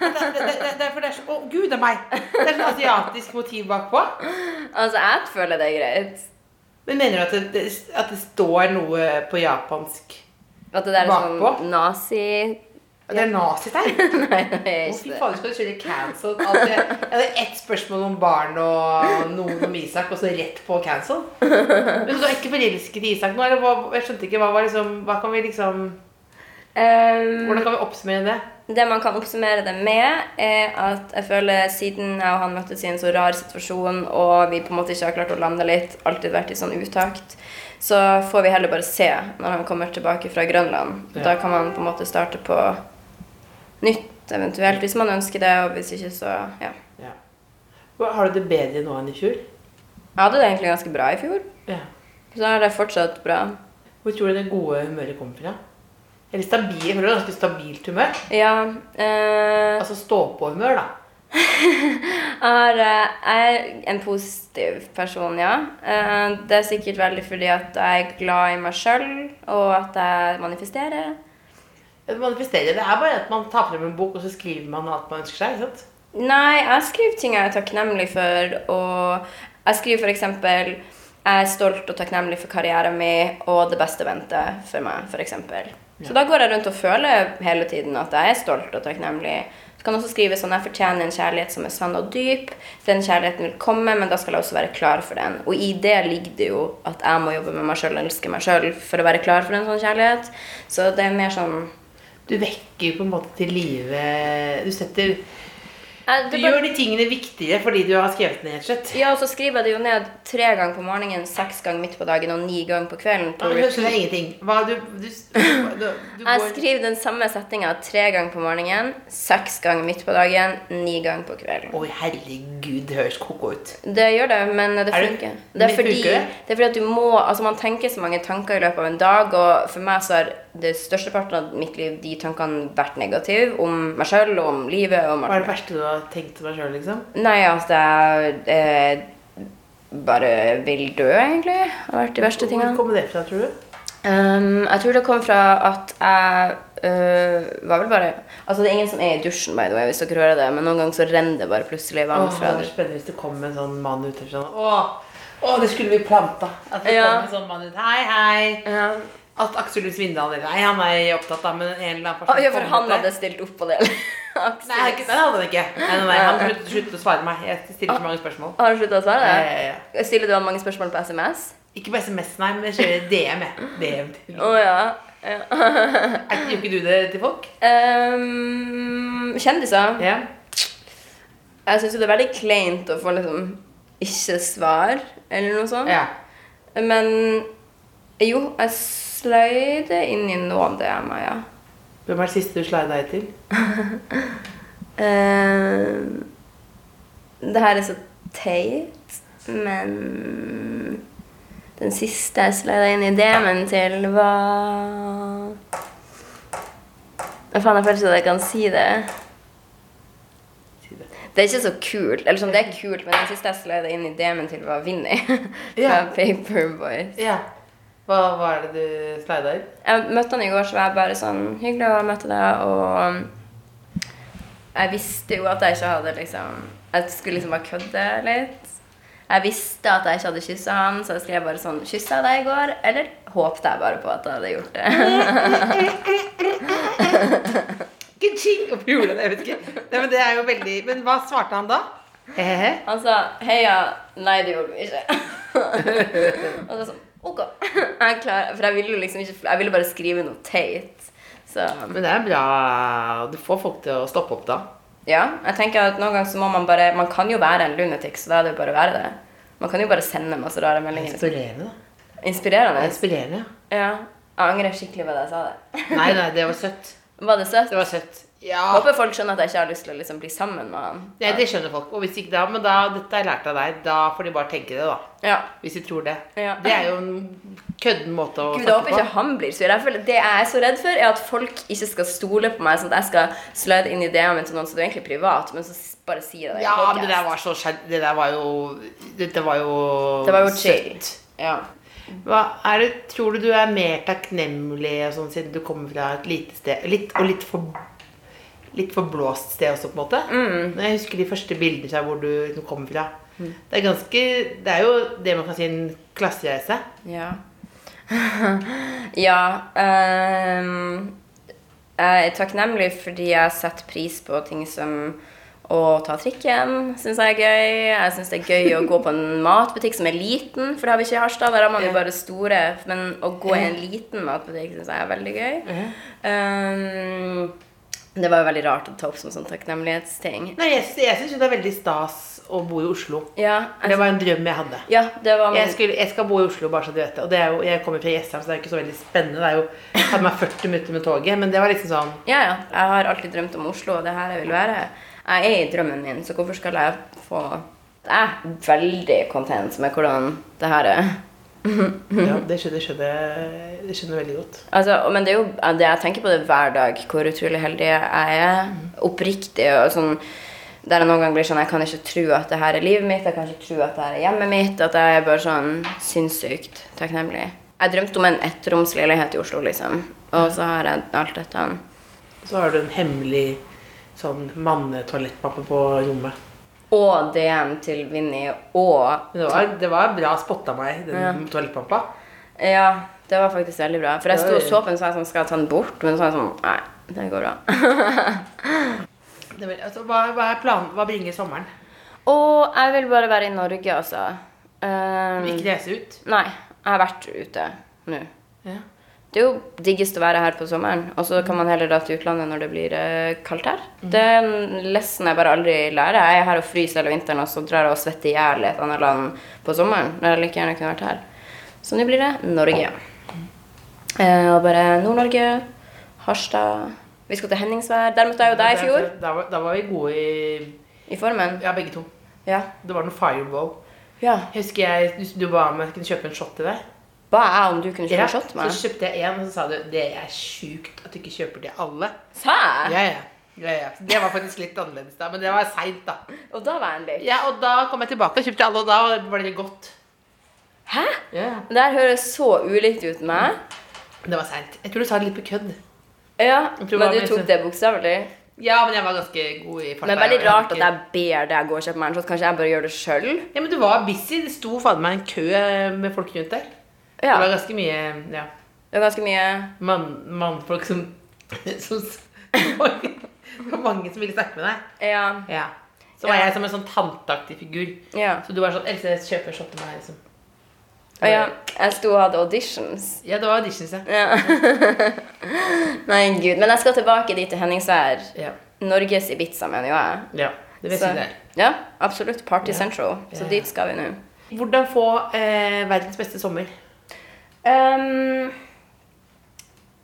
Speaker 4: Det, det, det, det, det er for det er så Å, gud, det er meg! Det er sånn asiatisk motiv bakpå.
Speaker 3: altså, jeg føler det er greit.
Speaker 4: Men mener du at det, det, at det står noe på japansk
Speaker 3: At det der er
Speaker 4: Bakpå?
Speaker 3: sånn nazi...
Speaker 4: Og Det er nazitegn!
Speaker 3: Nei, nei, jeg
Speaker 4: Å,
Speaker 3: er
Speaker 4: fy
Speaker 3: ikke det.
Speaker 4: faen, du skal kjøre cancel. Alt det. Jeg hadde ett spørsmål om barn og noen om Isak, og så rett på cancel. Men du er ikke forelsket i Isak nå? Eller hva, jeg skjønte ikke, hva var liksom Hva kan vi liksom
Speaker 3: Um,
Speaker 4: Hvordan kan vi oppsummere det?
Speaker 3: Det man kan oppsummere det med, er at jeg føler siden jeg og han møttes i en så rar situasjon, og vi på en måte ikke har klart å lande litt, alltid vært i sånn utakt, så får vi heller bare se når han kommer tilbake fra Grønland.
Speaker 4: Ja.
Speaker 3: Da kan man på en måte starte på nytt, eventuelt, hvis man ønsker det, og hvis ikke, så ja.
Speaker 4: Ja. Hva- Har du det bedre nå enn i fjor?
Speaker 3: Jeg hadde det egentlig ganske bra i fjor.
Speaker 4: Ja.
Speaker 3: Så er det fortsatt bra.
Speaker 4: Hvor tror du det gode humøret kommer fra? Eller stabil, jeg føler det er ganske stabilt humør.
Speaker 3: Ja. Eh,
Speaker 4: Altså stå-på-humør, da.
Speaker 3: er, eh, jeg er en positiv person, ja. Eh, det er sikkert veldig fordi at jeg er glad i meg sjøl, og at jeg manifesterer.
Speaker 4: Å Manifestere. Det er bare at man tar frem en bok, og så skriver man alt man ønsker seg. ikke sant?
Speaker 3: Nei, jeg skriver ting jeg er takknemlig for, og jeg skriver for eksempel jeg er stolt og takknemlig for karrieren min og det beste ventet for meg. For eksempel. Så da går jeg rundt og føler hele tiden at jeg er stolt og takknemlig. Så kan jeg også skrive sånn jeg fortjener en kjærlighet som er sann og dyp. Den kjærligheten vil komme, men da skal jeg også være klar for den. Og i det ligger det jo at jeg må jobbe med meg sjøl og elske meg sjøl for å være klar for en sånn kjærlighet. Så det er mer sånn
Speaker 4: Du vekker på en måte til live Du setter
Speaker 3: Jeg-
Speaker 4: Du
Speaker 3: det er
Speaker 4: gjør
Speaker 3: bare-
Speaker 4: de tingene viktigere fordi du har skrevet ned, rett og slett.
Speaker 3: Ja, og så skriver jeg det jo ned tre ganger på morgenen, seks ganger midt på dagen og ni ganger på kvelden. På
Speaker 4: Ja, men Jeg skjønner
Speaker 3: repeat.
Speaker 4: ingenting. Hva du, du,
Speaker 3: [LAUGHS]
Speaker 4: du, du
Speaker 3: jeg
Speaker 4: går,
Speaker 3: skriver den samme setninga tre ganger på morgenen, seks ganger midt på dagen, ni ganger på kvelden.
Speaker 4: Oi, herregud, det høres koko ut.
Speaker 3: Det gjør det, men det
Speaker 4: Er det-
Speaker 3: funker. Det
Speaker 4: men
Speaker 3: er fordi,
Speaker 4: funker det?
Speaker 3: det er fordi at du må Altså, man tenker så mange tanker i løpet av en dag, og for meg så har det størsteparten av mitt liv de tankene vært negative om meg sjøl og om livet og om
Speaker 4: Hva er det verste du har tenkt til deg sjøl, liksom?
Speaker 3: Nei, altså jeg eh, bare vil dø, egentlig. Det har vært de verste tingene.
Speaker 4: Hvor kommer det fra, tror du?
Speaker 3: Ehm, jeg tror det kom fra at jeg øh, var vel bare Altså, det er ingen som er i dusjen, by the way, hvis dere hører det, men noen ganger så renner det bare plutselig vann
Speaker 4: Åh, det
Speaker 3: fra
Speaker 4: hadde vært
Speaker 3: dusjen.
Speaker 4: spennende hvis det kom en sånn mann ut og sånn Åh, åh, det skulle vi planta. At det
Speaker 3: Ja.
Speaker 4: kom en sånn mann ut. Hei, hei.
Speaker 3: Ja.
Speaker 4: At Aksel Lund Svindal eller Nei, han er opptatt, da, men en eller annen person
Speaker 3: Ah, ja, for
Speaker 4: kom ut
Speaker 3: han
Speaker 4: der.
Speaker 3: hadde stilt opp på det. [LAUGHS]
Speaker 4: Nei, han- nei, det hadde han ikke. Nei, nei, nei, han sluttet sluttet å svare meg. Jeg stiller
Speaker 3: Ah.
Speaker 4: ikke mange spørsmål.
Speaker 3: Har du slutta å svare?
Speaker 4: Ja, ja,
Speaker 3: Stiller du han mange spørsmål på SMS?
Speaker 4: Ikke på SMS, nei, men jeg kjører DM. jeg. DM til.
Speaker 3: Å ja.
Speaker 4: Er ikke- Gjør ikke du det til folk?
Speaker 3: Ehm, kjendiser.
Speaker 4: Ja.
Speaker 3: Jeg syns jo det er veldig kleint å få liksom ikke svar, eller noe sånt.
Speaker 4: ja.
Speaker 3: Men jo, jeg sløy det inn i noen DM-er, ja.
Speaker 4: Hvem er det siste du slida deg til?
Speaker 3: Eh, det her er så teit, men den siste jeg slida inn i DM-en til, var Hva faen, jeg føler ikke at jeg kan si det.
Speaker 4: Si det.
Speaker 3: Det er ikke så kult. Eller sånn, det er kult, men den siste jeg slida inn i DM-en til, var Vinni. [LAUGHS] Fra
Speaker 4: Ja.
Speaker 3: Paperboys.
Speaker 4: Ja. Hva var det du slida inn?
Speaker 3: Jeg møtte han i går, så var jeg bare sånn Hyggelig å møte deg, og Jeg visste jo at jeg ikke hadde liksom Jeg skulle liksom bare kødde litt. Jeg visste at jeg ikke hadde kyssa han, så jeg skrev bare sånn Kyssa jeg deg i går? Eller håpte jeg bare på at jeg hadde gjort det?
Speaker 4: Ka-ching! Opp i jorda, jeg vet ikke. Nei, men det er jo veldig Men hva svarte han da? Hehehe.
Speaker 3: Han sa heia, nei, det gjorde du ikke. [LAUGHS] og så sånn OK. jeg klarer For jeg ville jo liksom ikke Jeg ville bare skrive noe teit. Så
Speaker 4: Men det er bra. Du får folk til å stoppe opp da.
Speaker 3: Ja, jeg tenker at noen ganger så må man bare Man kan jo være en lunatic, så da er det jo bare å være det. Man kan jo bare sende masse rare meldinger.
Speaker 4: Inspirerende. da. Det
Speaker 3: Inspirerende.
Speaker 4: er Inspirerende, ja.
Speaker 3: Ja. Jeg angrer skikkelig på det jeg sa det.
Speaker 4: Nei, nei, det var søtt.
Speaker 3: Var det søtt?
Speaker 4: Det var søtt. Ja.
Speaker 3: Jeg Håper folk skjønner at jeg ikke har lyst til å liksom bli sammen med han.
Speaker 4: Nei, det skjønner folk. Og hvis ikke da, men da, dette har jeg lært av deg, da får de bare tenke det, da.
Speaker 3: Ja.
Speaker 4: Hvis de tror det.
Speaker 3: Ja.
Speaker 4: Det er jo en kødden måte å
Speaker 3: Gud, jeg håper
Speaker 4: snakke
Speaker 3: ikke
Speaker 4: på.
Speaker 3: han blir sur. Jeg føler Det jeg er så redd for, er at folk ikke skal stole på meg, sånn at jeg skal slide inn ideene mine til noen som er egentlig privat, men så s- bare sier jeg det i en
Speaker 4: Ja, men
Speaker 3: podcast.
Speaker 4: det der var så skjedd. Det der var jo Dette var jo
Speaker 3: Det var jo chill.
Speaker 4: søtt.
Speaker 3: Ja.
Speaker 4: Hva er det, tror du du er mer takknemlig og sånn, siden du kommer fra et lite sted litt, Og litt for Litt forblåst sted også, på en måte?
Speaker 3: Mm.
Speaker 4: Når jeg husker de første bildene fra hvor du liksom kommer fra. Det er ganske Det er jo det man kan si en klassereise.
Speaker 3: Ja. [LAUGHS] ja ehm, jeg er takknemlig fordi jeg setter pris på ting som å ta trikken syns jeg er gøy. Jeg syns det er gøy å gå på en [LAUGHS] matbutikk som er liten, for det har vi ikke i Harstad. Der har man jo bare store. Men å gå i en liten matbutikk syns jeg er veldig gøy. Ehm, det var jo veldig rart å ta opp som sånn takknemlighetsting.
Speaker 4: Nei, jeg, sy- jeg syns jo det er veldig stas å bo i Oslo.
Speaker 3: Ja,
Speaker 4: Det
Speaker 3: jeg,
Speaker 4: var en drøm jeg hadde.
Speaker 3: ja, det var
Speaker 4: Jeg, skulle, jeg skal bo i Oslo, bare så du vet det. Og det er jo, jeg kommer fra Jessheim, så det er jo ikke så veldig spennende. Det er jo, det tar meg 40 minutter med toget, men det var liksom sånn
Speaker 3: Ja, ja. Jeg har alltid drømt om Oslo, og det er her jeg vil være. Jeg er i drømmen min, så hvorfor skal jeg få Jeg er veldig content med hvordan det her er.
Speaker 4: Ja, det skjønner, skjønner, det skjønner jeg veldig godt.
Speaker 3: Altså, og- men det er jo ja, det jeg tenker på det hver dag, hvor utrolig heldig jeg er. Oppriktig og sånn Der jeg noen ganger blir sånn Jeg kan ikke tro at det her er livet mitt, jeg kan ikke tro at det her er hjemmet mitt. At jeg er bare sånn sinnssykt takknemlig. Jeg drømte om en ettroms leilighet i Oslo, liksom. Og så har jeg alt dette.
Speaker 4: Så har du en hemmelig sånn mannetoalettmappe på rommet.
Speaker 3: Og DM til Vinni og
Speaker 4: Men det var, det var bra spotta meg, den toalettmappa.
Speaker 3: Ja, det var faktisk veldig bra. For jeg sto og
Speaker 4: Oi.
Speaker 3: så på den, så var jeg sånn Skal jeg ta den bort? Men så var jeg sånn Nei, det går bra.
Speaker 4: [LAUGHS] Det er vel- altså, hva, hva er planen? Hva bringer sommeren?
Speaker 3: Og jeg vil bare være i Norge, altså. Um,
Speaker 4: Ikke reise ut?
Speaker 3: Nei, jeg har vært ute nå.
Speaker 4: Ja.
Speaker 3: Det er jo diggest å være her på sommeren, og så kan man heller dra til utlandet når det blir eh, kaldt her.
Speaker 4: Mm.
Speaker 3: Det er en lesson jeg bare aldri lærer. Jeg er her og fryser hele vinteren, og så drar jeg og svetter i hjel i et annet land på sommeren. Når jeg like gjerne kunne vært her. Så nå blir det Norge. Eh, og bare Nord-Norge, Harstad Vi skal til Henningsvær. Der møtte jeg jo deg i fjor,
Speaker 4: altså, Da, var- da var vi gode i
Speaker 3: i formen.
Speaker 4: Ja, begge to.
Speaker 3: Ja.
Speaker 4: Det var noe fireball.
Speaker 3: ja.
Speaker 4: Jeg husker jeg, du, du ba meg jeg kunne kjøpe en shot til deg.
Speaker 3: Ba jeg om du kunne kjøre shot med
Speaker 4: så
Speaker 3: meg?
Speaker 4: kjøpte jeg en, og så sa du det er sjukt at du ikke kjøper til alle.
Speaker 3: Sa jeg?
Speaker 4: Ja, ja. Ja, ja. Det var faktisk litt annerledes, da, men det var seint, da.
Speaker 3: Og da var jeg en lek.
Speaker 4: Ja, Og da kom jeg tilbake og kjøpte alle, og da var det godt.
Speaker 3: Hæ?
Speaker 4: Ja.
Speaker 3: Det her høres så ulikt ut med meg.
Speaker 4: Det var seint. Jeg tror du sa det litt på kødd.
Speaker 3: Ja,
Speaker 4: Jeg tror
Speaker 3: men
Speaker 4: det
Speaker 3: du
Speaker 4: var
Speaker 3: tok
Speaker 4: litt-
Speaker 3: det bokstavelig.
Speaker 4: Ja, men jeg var ganske god i farta.
Speaker 3: Men veldig
Speaker 4: Jeg var
Speaker 3: rart at
Speaker 4: ikke-
Speaker 3: jeg ber deg gå og kjøpe meg en shot. Kanskje jeg bare gjør det sjøl?
Speaker 4: Ja, men du var busy. Det sto fader meg en kø med folk rundt der.
Speaker 3: Ja.
Speaker 4: Det var ganske mye ja,
Speaker 3: Det er ganske mye
Speaker 4: mann, mannfolk som, som Det var [LAUGHS] mange som ville snakke med deg.
Speaker 3: Ja.
Speaker 4: Ja. Så var
Speaker 3: Ja.
Speaker 4: jeg som en sånn tanteaktig figur.
Speaker 3: Ja.
Speaker 4: Så du var sånn Else, kjøp en shot til meg, liksom.
Speaker 3: Og
Speaker 4: Ah,
Speaker 3: ja, jeg sto og hadde auditions.
Speaker 4: Ja, det var auditions, ja.
Speaker 3: Ja. Nei, gud. Men jeg skal tilbake dit til Henningsvær.
Speaker 4: Ja.
Speaker 3: Norges Ibiza, mener jo jeg.
Speaker 4: ja. Det vet
Speaker 3: Så-
Speaker 4: jeg det er.
Speaker 3: ja, absolutt. Party Central.
Speaker 4: Ja,
Speaker 3: Så
Speaker 4: ja.
Speaker 3: dit skal vi nå.
Speaker 4: Hvordan få eh, verdens beste sommer?
Speaker 3: Um,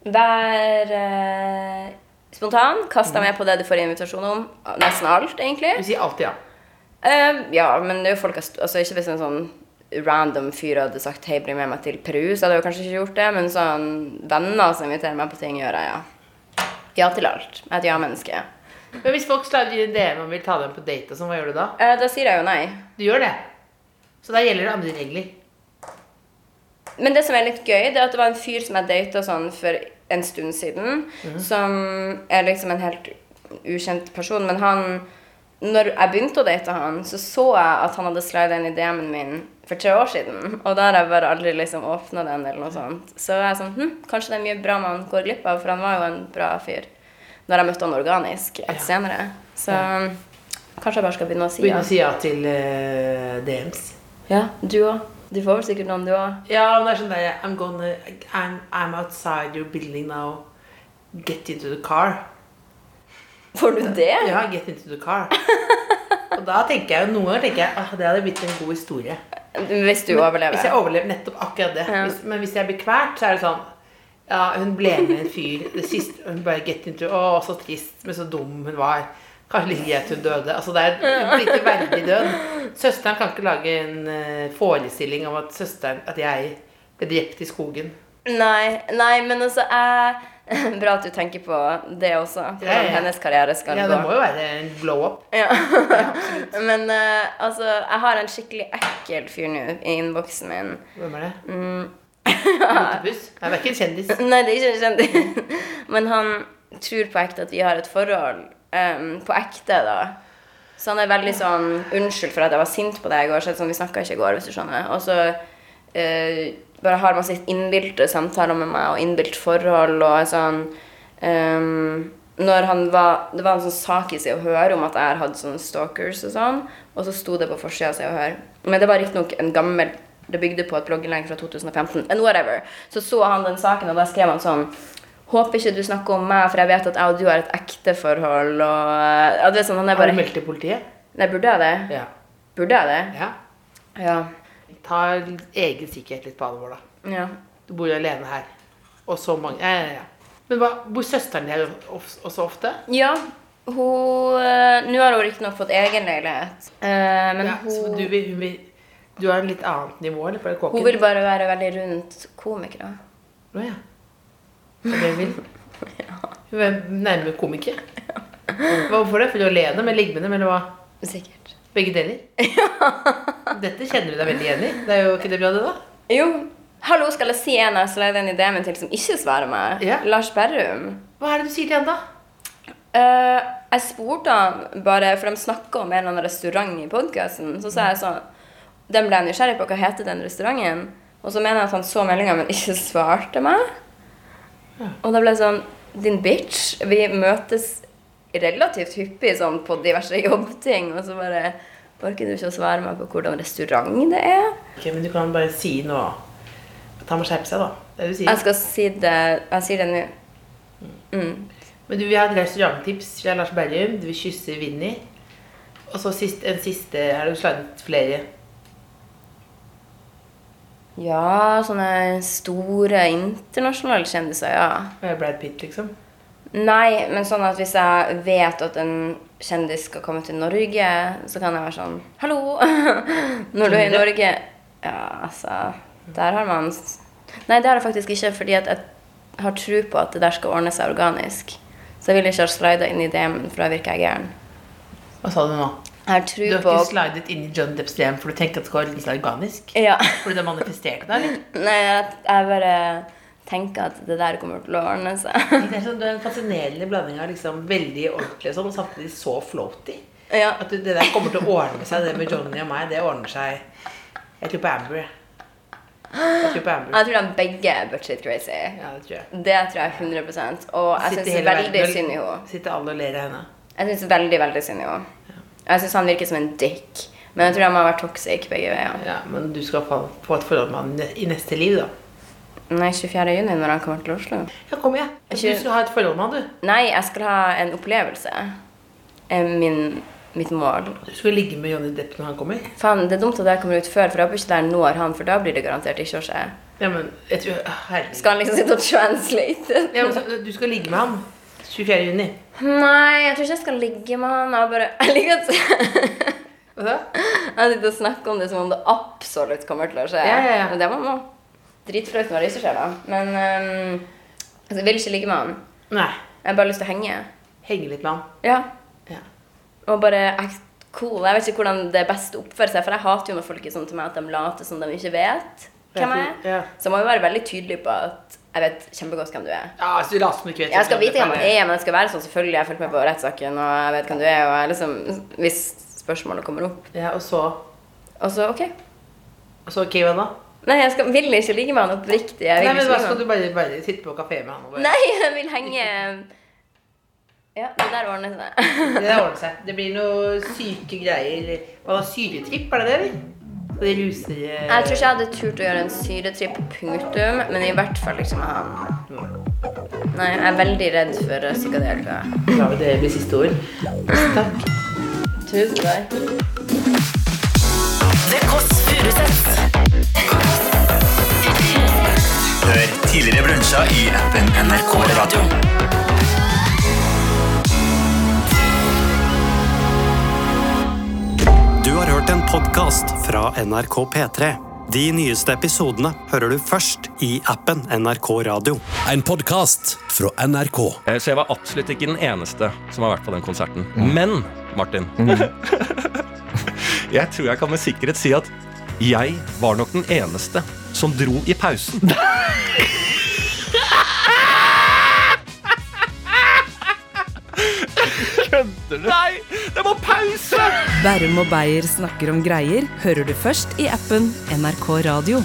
Speaker 3: vær eh, spontan.
Speaker 4: Mhm.
Speaker 3: Kast deg med på det du får invitasjon om. Nesten alt, egentlig.
Speaker 4: Du sier alltid ja.
Speaker 3: Eh, ja, men det er jo folk jeg st- altså, Ikke hvis en sånn random fyr hadde sagt Hei, bli med meg til Peru, så hadde jeg jo kanskje ikke gjort det. Men sånn venner som inviterer meg på ting, gjør jeg ja. Ja til alt. Jeg er et ja-menneske.
Speaker 4: Men hvis folk slår i DM og vil ta dem på date, og sånn, hva gjør du da?
Speaker 3: Eh, da sier jeg jo nei.
Speaker 4: Du gjør det. Så da gjelder det andre regler.
Speaker 3: Men det som er litt gøy, det er at det var en fyr som jeg data sånn for en stund siden,
Speaker 4: Mhm.
Speaker 3: som er liksom en helt ukjent person, men han Når jeg begynte å date han, så så jeg at han hadde slida inn i DM-en min for tre år siden, og da har jeg bare aldri liksom åpna den eller noe sånt. Så jeg er sånn hm, Kanskje det er mye bra man går glipp av, for han var jo en bra fyr. Når jeg møtte han organisk et senere. Så kanskje jeg bare skal begynne å si
Speaker 4: Begynne
Speaker 3: ja.
Speaker 4: å si ja til eh, DMs.
Speaker 3: Ja, du òg. Du får vel sikkert noen, du òg.
Speaker 4: Ja, men det er sånn der I'm gonna I'm, I'm outside your building now. Get into the car.
Speaker 3: Får du det?
Speaker 4: Ja, get into the [LAUGHS] car. Og da tenker jeg jo noen ganger tenker jeg, ah, det hadde blitt en god historie.
Speaker 3: Hvis du overlever.
Speaker 4: Hvis jeg overlever nettopp akkurat det. Hvis, men hvis jeg blir kvalt, så er det sånn Ja, hun ble med en fyr det siste Hun bare get into Å, så trist, men så dum hun var. Kanskje litt greit hun døde. Altså, det er en ikke verdig død. Søsteren kan ikke lage en eh, forestilling om at søsteren At jeg ble drept i skogen.
Speaker 3: Nei, nei, men altså jeg [LAUGHS] Bra at du tenker på det også. Hvordan
Speaker 4: Ja, ja.
Speaker 3: hennes karriere skal
Speaker 4: Ja,
Speaker 3: gå.
Speaker 4: det må jo være en blow up.
Speaker 3: Ja. men eh, altså, jeg har en skikkelig ekkel fyr nå i innboksen min.
Speaker 4: Hvem er det? Utebuss? Nei, det er ikke en kjendis.
Speaker 3: Nei, Mm. [LAUGHS] det er ikke en kjendis. [LAUGHS] men han tror på ekte at vi har et forhold. em, på ekte, da. Så han er veldig sånn Unnskyld for at jeg var sint på deg i går. Så er det sånn, vi snakka ikke i går, hvis du skjønner. Og så eh, bare har masse innbilte samtaler med meg og innbilt forhold og er sånn ehm, når han var, Det var en sånn sak i Se og Hør om at jeg har hatt sånne stalkers og sånn, og så sto det på forsida av Se og Hør. Men det var riktignok en gammel Det bygde på et blogginnlegg fra 2015. And whatever. Så så han den saken, og da skrev han sånn Håper ikke du snakker om meg, for jeg vet at jeg og du har et ekte forhold. Og, ja, det er sånn, han er
Speaker 4: Har
Speaker 3: bare
Speaker 4: du meldt til politiet?
Speaker 3: Nei, burde jeg det?
Speaker 4: Ja.
Speaker 3: Burde jeg det?
Speaker 4: ja.
Speaker 3: Ja.
Speaker 4: Ta egen sikkerhet litt på alvor, da.
Speaker 3: ja.
Speaker 4: Du bor jo alene her. Og så mange Ja, ja, ja. Men hva, bor søsteren din her of- også ofte?
Speaker 3: Ja, hun eh, Nå har hun riktignok fått egen leilighet, eh, men
Speaker 4: Ja, så
Speaker 3: hun
Speaker 4: du vil, hun vil Du har en litt annet nivå, eller? For det er kåken.
Speaker 3: Hun vil bare være veldig rundt komikere.
Speaker 4: Å, ja. Det er det hun vil.
Speaker 3: [LAUGHS]
Speaker 4: Hun er nærmere komiker. Hvorfor det? For du er alene med ligge med dem, eller hva?
Speaker 3: Sikkert.
Speaker 4: Begge deler? Dette kjenner du deg veldig igjen i. Det er jo ikke det bra, det, da?
Speaker 3: Jo. Hallo, skal jeg si en jeg sleide en idé min til som ikke svarer meg?
Speaker 4: Ja.
Speaker 3: Lars Berrum.
Speaker 4: Hva er det du sier til henne, da?
Speaker 3: Eh, jeg spurte han bare, for de snakka om en eller annen restaurant i podkasten. Så sa jeg sånn Den ble jeg nysgjerrig på. Hva heter den restauranten? Og så mener jeg at han så meldinga, men ikke svarte meg. Og da ble jeg sånn Din bitch. Vi møtes relativt hyppig sånn på diverse jobbting, og så bare Orker du ikke å svare meg på hvordan restaurant det er?
Speaker 4: Ok, Men du kan bare si noe. At han må skjerpe seg, da. Det er det du
Speaker 3: Jeg
Speaker 4: sier.
Speaker 3: skal si det Jeg sier det nå.
Speaker 4: Men du vil ha et restauranttips fra Lars Berrum. Du vil kysse Vinni. Og så sist, en siste Har du slanget flere?
Speaker 3: Ja, sånne store internasjonale kjendiser, ja.
Speaker 4: Brad Pitt, liksom?
Speaker 3: Nei, men sånn at hvis jeg vet at en kjendis skal komme til Norge, så kan jeg være sånn Hallo! [LAUGHS] Når du er i Norge Ja, altså Der har man s- Nei, det har jeg faktisk ikke, fordi at jeg har tro på at det der skal ordne seg organisk. Så jeg vil ikke ha slida inn i det, men for da virker jeg gæren.
Speaker 4: Hva sa du nå?
Speaker 3: Jeg har
Speaker 4: Du
Speaker 3: tro
Speaker 4: har
Speaker 3: på
Speaker 4: ikke slidet inn i John Depps hjem for du tenkte at det var litt sånn organisk?
Speaker 3: Ja. [LAUGHS]
Speaker 4: Fordi det er manifestert der? eller?
Speaker 3: Nei, jeg, jeg bare tenker at det der kommer til å ordne seg. [LAUGHS]
Speaker 4: Det er, sånn, det er en fascinerende blanding av liksom veldig ordentlig og sånn, og samtidig så floaty.
Speaker 3: Ja.
Speaker 4: At du, det der kommer til å ordne seg, det med Johnny og meg, det ordner seg. Jeg tror på Amber. jeg. Jeg tror på Amber.
Speaker 3: Jeg tror de begge er bullshit crazy.
Speaker 4: Ja, det tror jeg.
Speaker 3: Det tror jeg 100 Og jeg
Speaker 4: Sitter
Speaker 3: syns
Speaker 4: hele
Speaker 3: veldig
Speaker 4: verden og-
Speaker 3: synd i henne.
Speaker 4: Sitter alle og ler av henne.
Speaker 3: Jeg syns veldig, veldig synd i henne. Og jeg syns han virker som en dick. Men jeg tror han har vært toxic begge veier.
Speaker 4: Ja, men du skal få, få et forhold med han i neste liv, da.
Speaker 3: Nei, 24. juni når han kommer til Oslo.
Speaker 4: Ja, kom igjen. Du
Speaker 3: Ikke-
Speaker 4: skal ha et forhold med han, du.
Speaker 3: Nei, jeg skal ha en opplevelse. Er Min, mitt mål.
Speaker 4: Du skal ligge med Johnny Depp når han kommer.
Speaker 3: Faen, det er dumt at det her kommer ut før, for jeg håper ikke det her når han, for da blir det garantert ikke å skje.
Speaker 4: Ja, men jeg tror Herregud.
Speaker 3: Skal han liksom sitte og translate?
Speaker 4: Ja, men, så- du skal ligge med ham 24. juni.
Speaker 3: Nei, jeg tror ikke jeg skal ligge med han. Jeg bare [LAUGHS] Jeg liker at
Speaker 4: Hva da?
Speaker 3: Jeg sitter og snakker om det som om det absolutt kommer til å skje.
Speaker 4: Ja, ja, ja.
Speaker 3: Men det må man dritflaut når det ikke skjer, da. Men øhm, altså, jeg vil ikke ligge med han.
Speaker 4: Nei.
Speaker 3: Jeg har bare lyst til å henge.
Speaker 4: Henge litt med ham.
Speaker 3: Ja.
Speaker 4: Ja.
Speaker 3: Og bare act cool. Jeg vet ikke hvordan det er best å oppføre seg, for jeg hater jo når folk er sånn til meg at de later som de ikke vet hvem jeg er.
Speaker 4: Ja.
Speaker 3: Så jeg må jo være veldig tydelig på at jeg vet kjempegodt hvem du er.
Speaker 4: Ja, så raser du ikke vet
Speaker 3: Jeg skal vite hvem han er, men jeg skal være sånn selvfølgelig. Jeg har fulgt med på rettssaken, og jeg vet hvem du er, og jeg liksom, hvis spørsmålet kommer opp.
Speaker 4: Ja, og så
Speaker 3: Og så OK.
Speaker 4: og så ok, hva da?
Speaker 3: Nei, jeg skal, vil ikke ligge med han oppriktig. Jeg vil
Speaker 4: Nei, men
Speaker 3: ikke
Speaker 4: hva
Speaker 3: ligge
Speaker 4: skal
Speaker 3: med
Speaker 4: du
Speaker 3: han.
Speaker 4: bare, bare sitte på kafé med han og bare
Speaker 3: Nei, jeg vil henge Ja, det der ordner seg.
Speaker 4: Det der ordner seg. Det blir noe syke greier. Hva da, syretripp, er det det, eller? Så de ruser eh,
Speaker 3: Jeg tror ikke jeg hadde turt å gjøre en syretripp, punktum, men i hvert fall ikke med han. Nei, jeg er veldig redd for psykadelika.
Speaker 4: Ja, det blir siste ord. Takk.
Speaker 3: Tusen takk.
Speaker 2: Det Kåss Furuseths.
Speaker 6: Hør tidligere brunsja i appen NRK Radio.
Speaker 1: Du har hørt en podkast fra NRK P3. De nyeste episodene hører du først i appen NRK Radio.
Speaker 7: En podkast fra NRK.
Speaker 8: Eh, Så jeg var absolutt ikke den eneste som har vært på den konserten. Men, Martin [LAUGHS] Jeg tror jeg kan med sikkerhet si at jeg var nok den eneste som dro i pausen. Kødder du? Nei! Det var pause!
Speaker 9: Bærum og Beier snakker om greier hører du først i appen NRK Radio.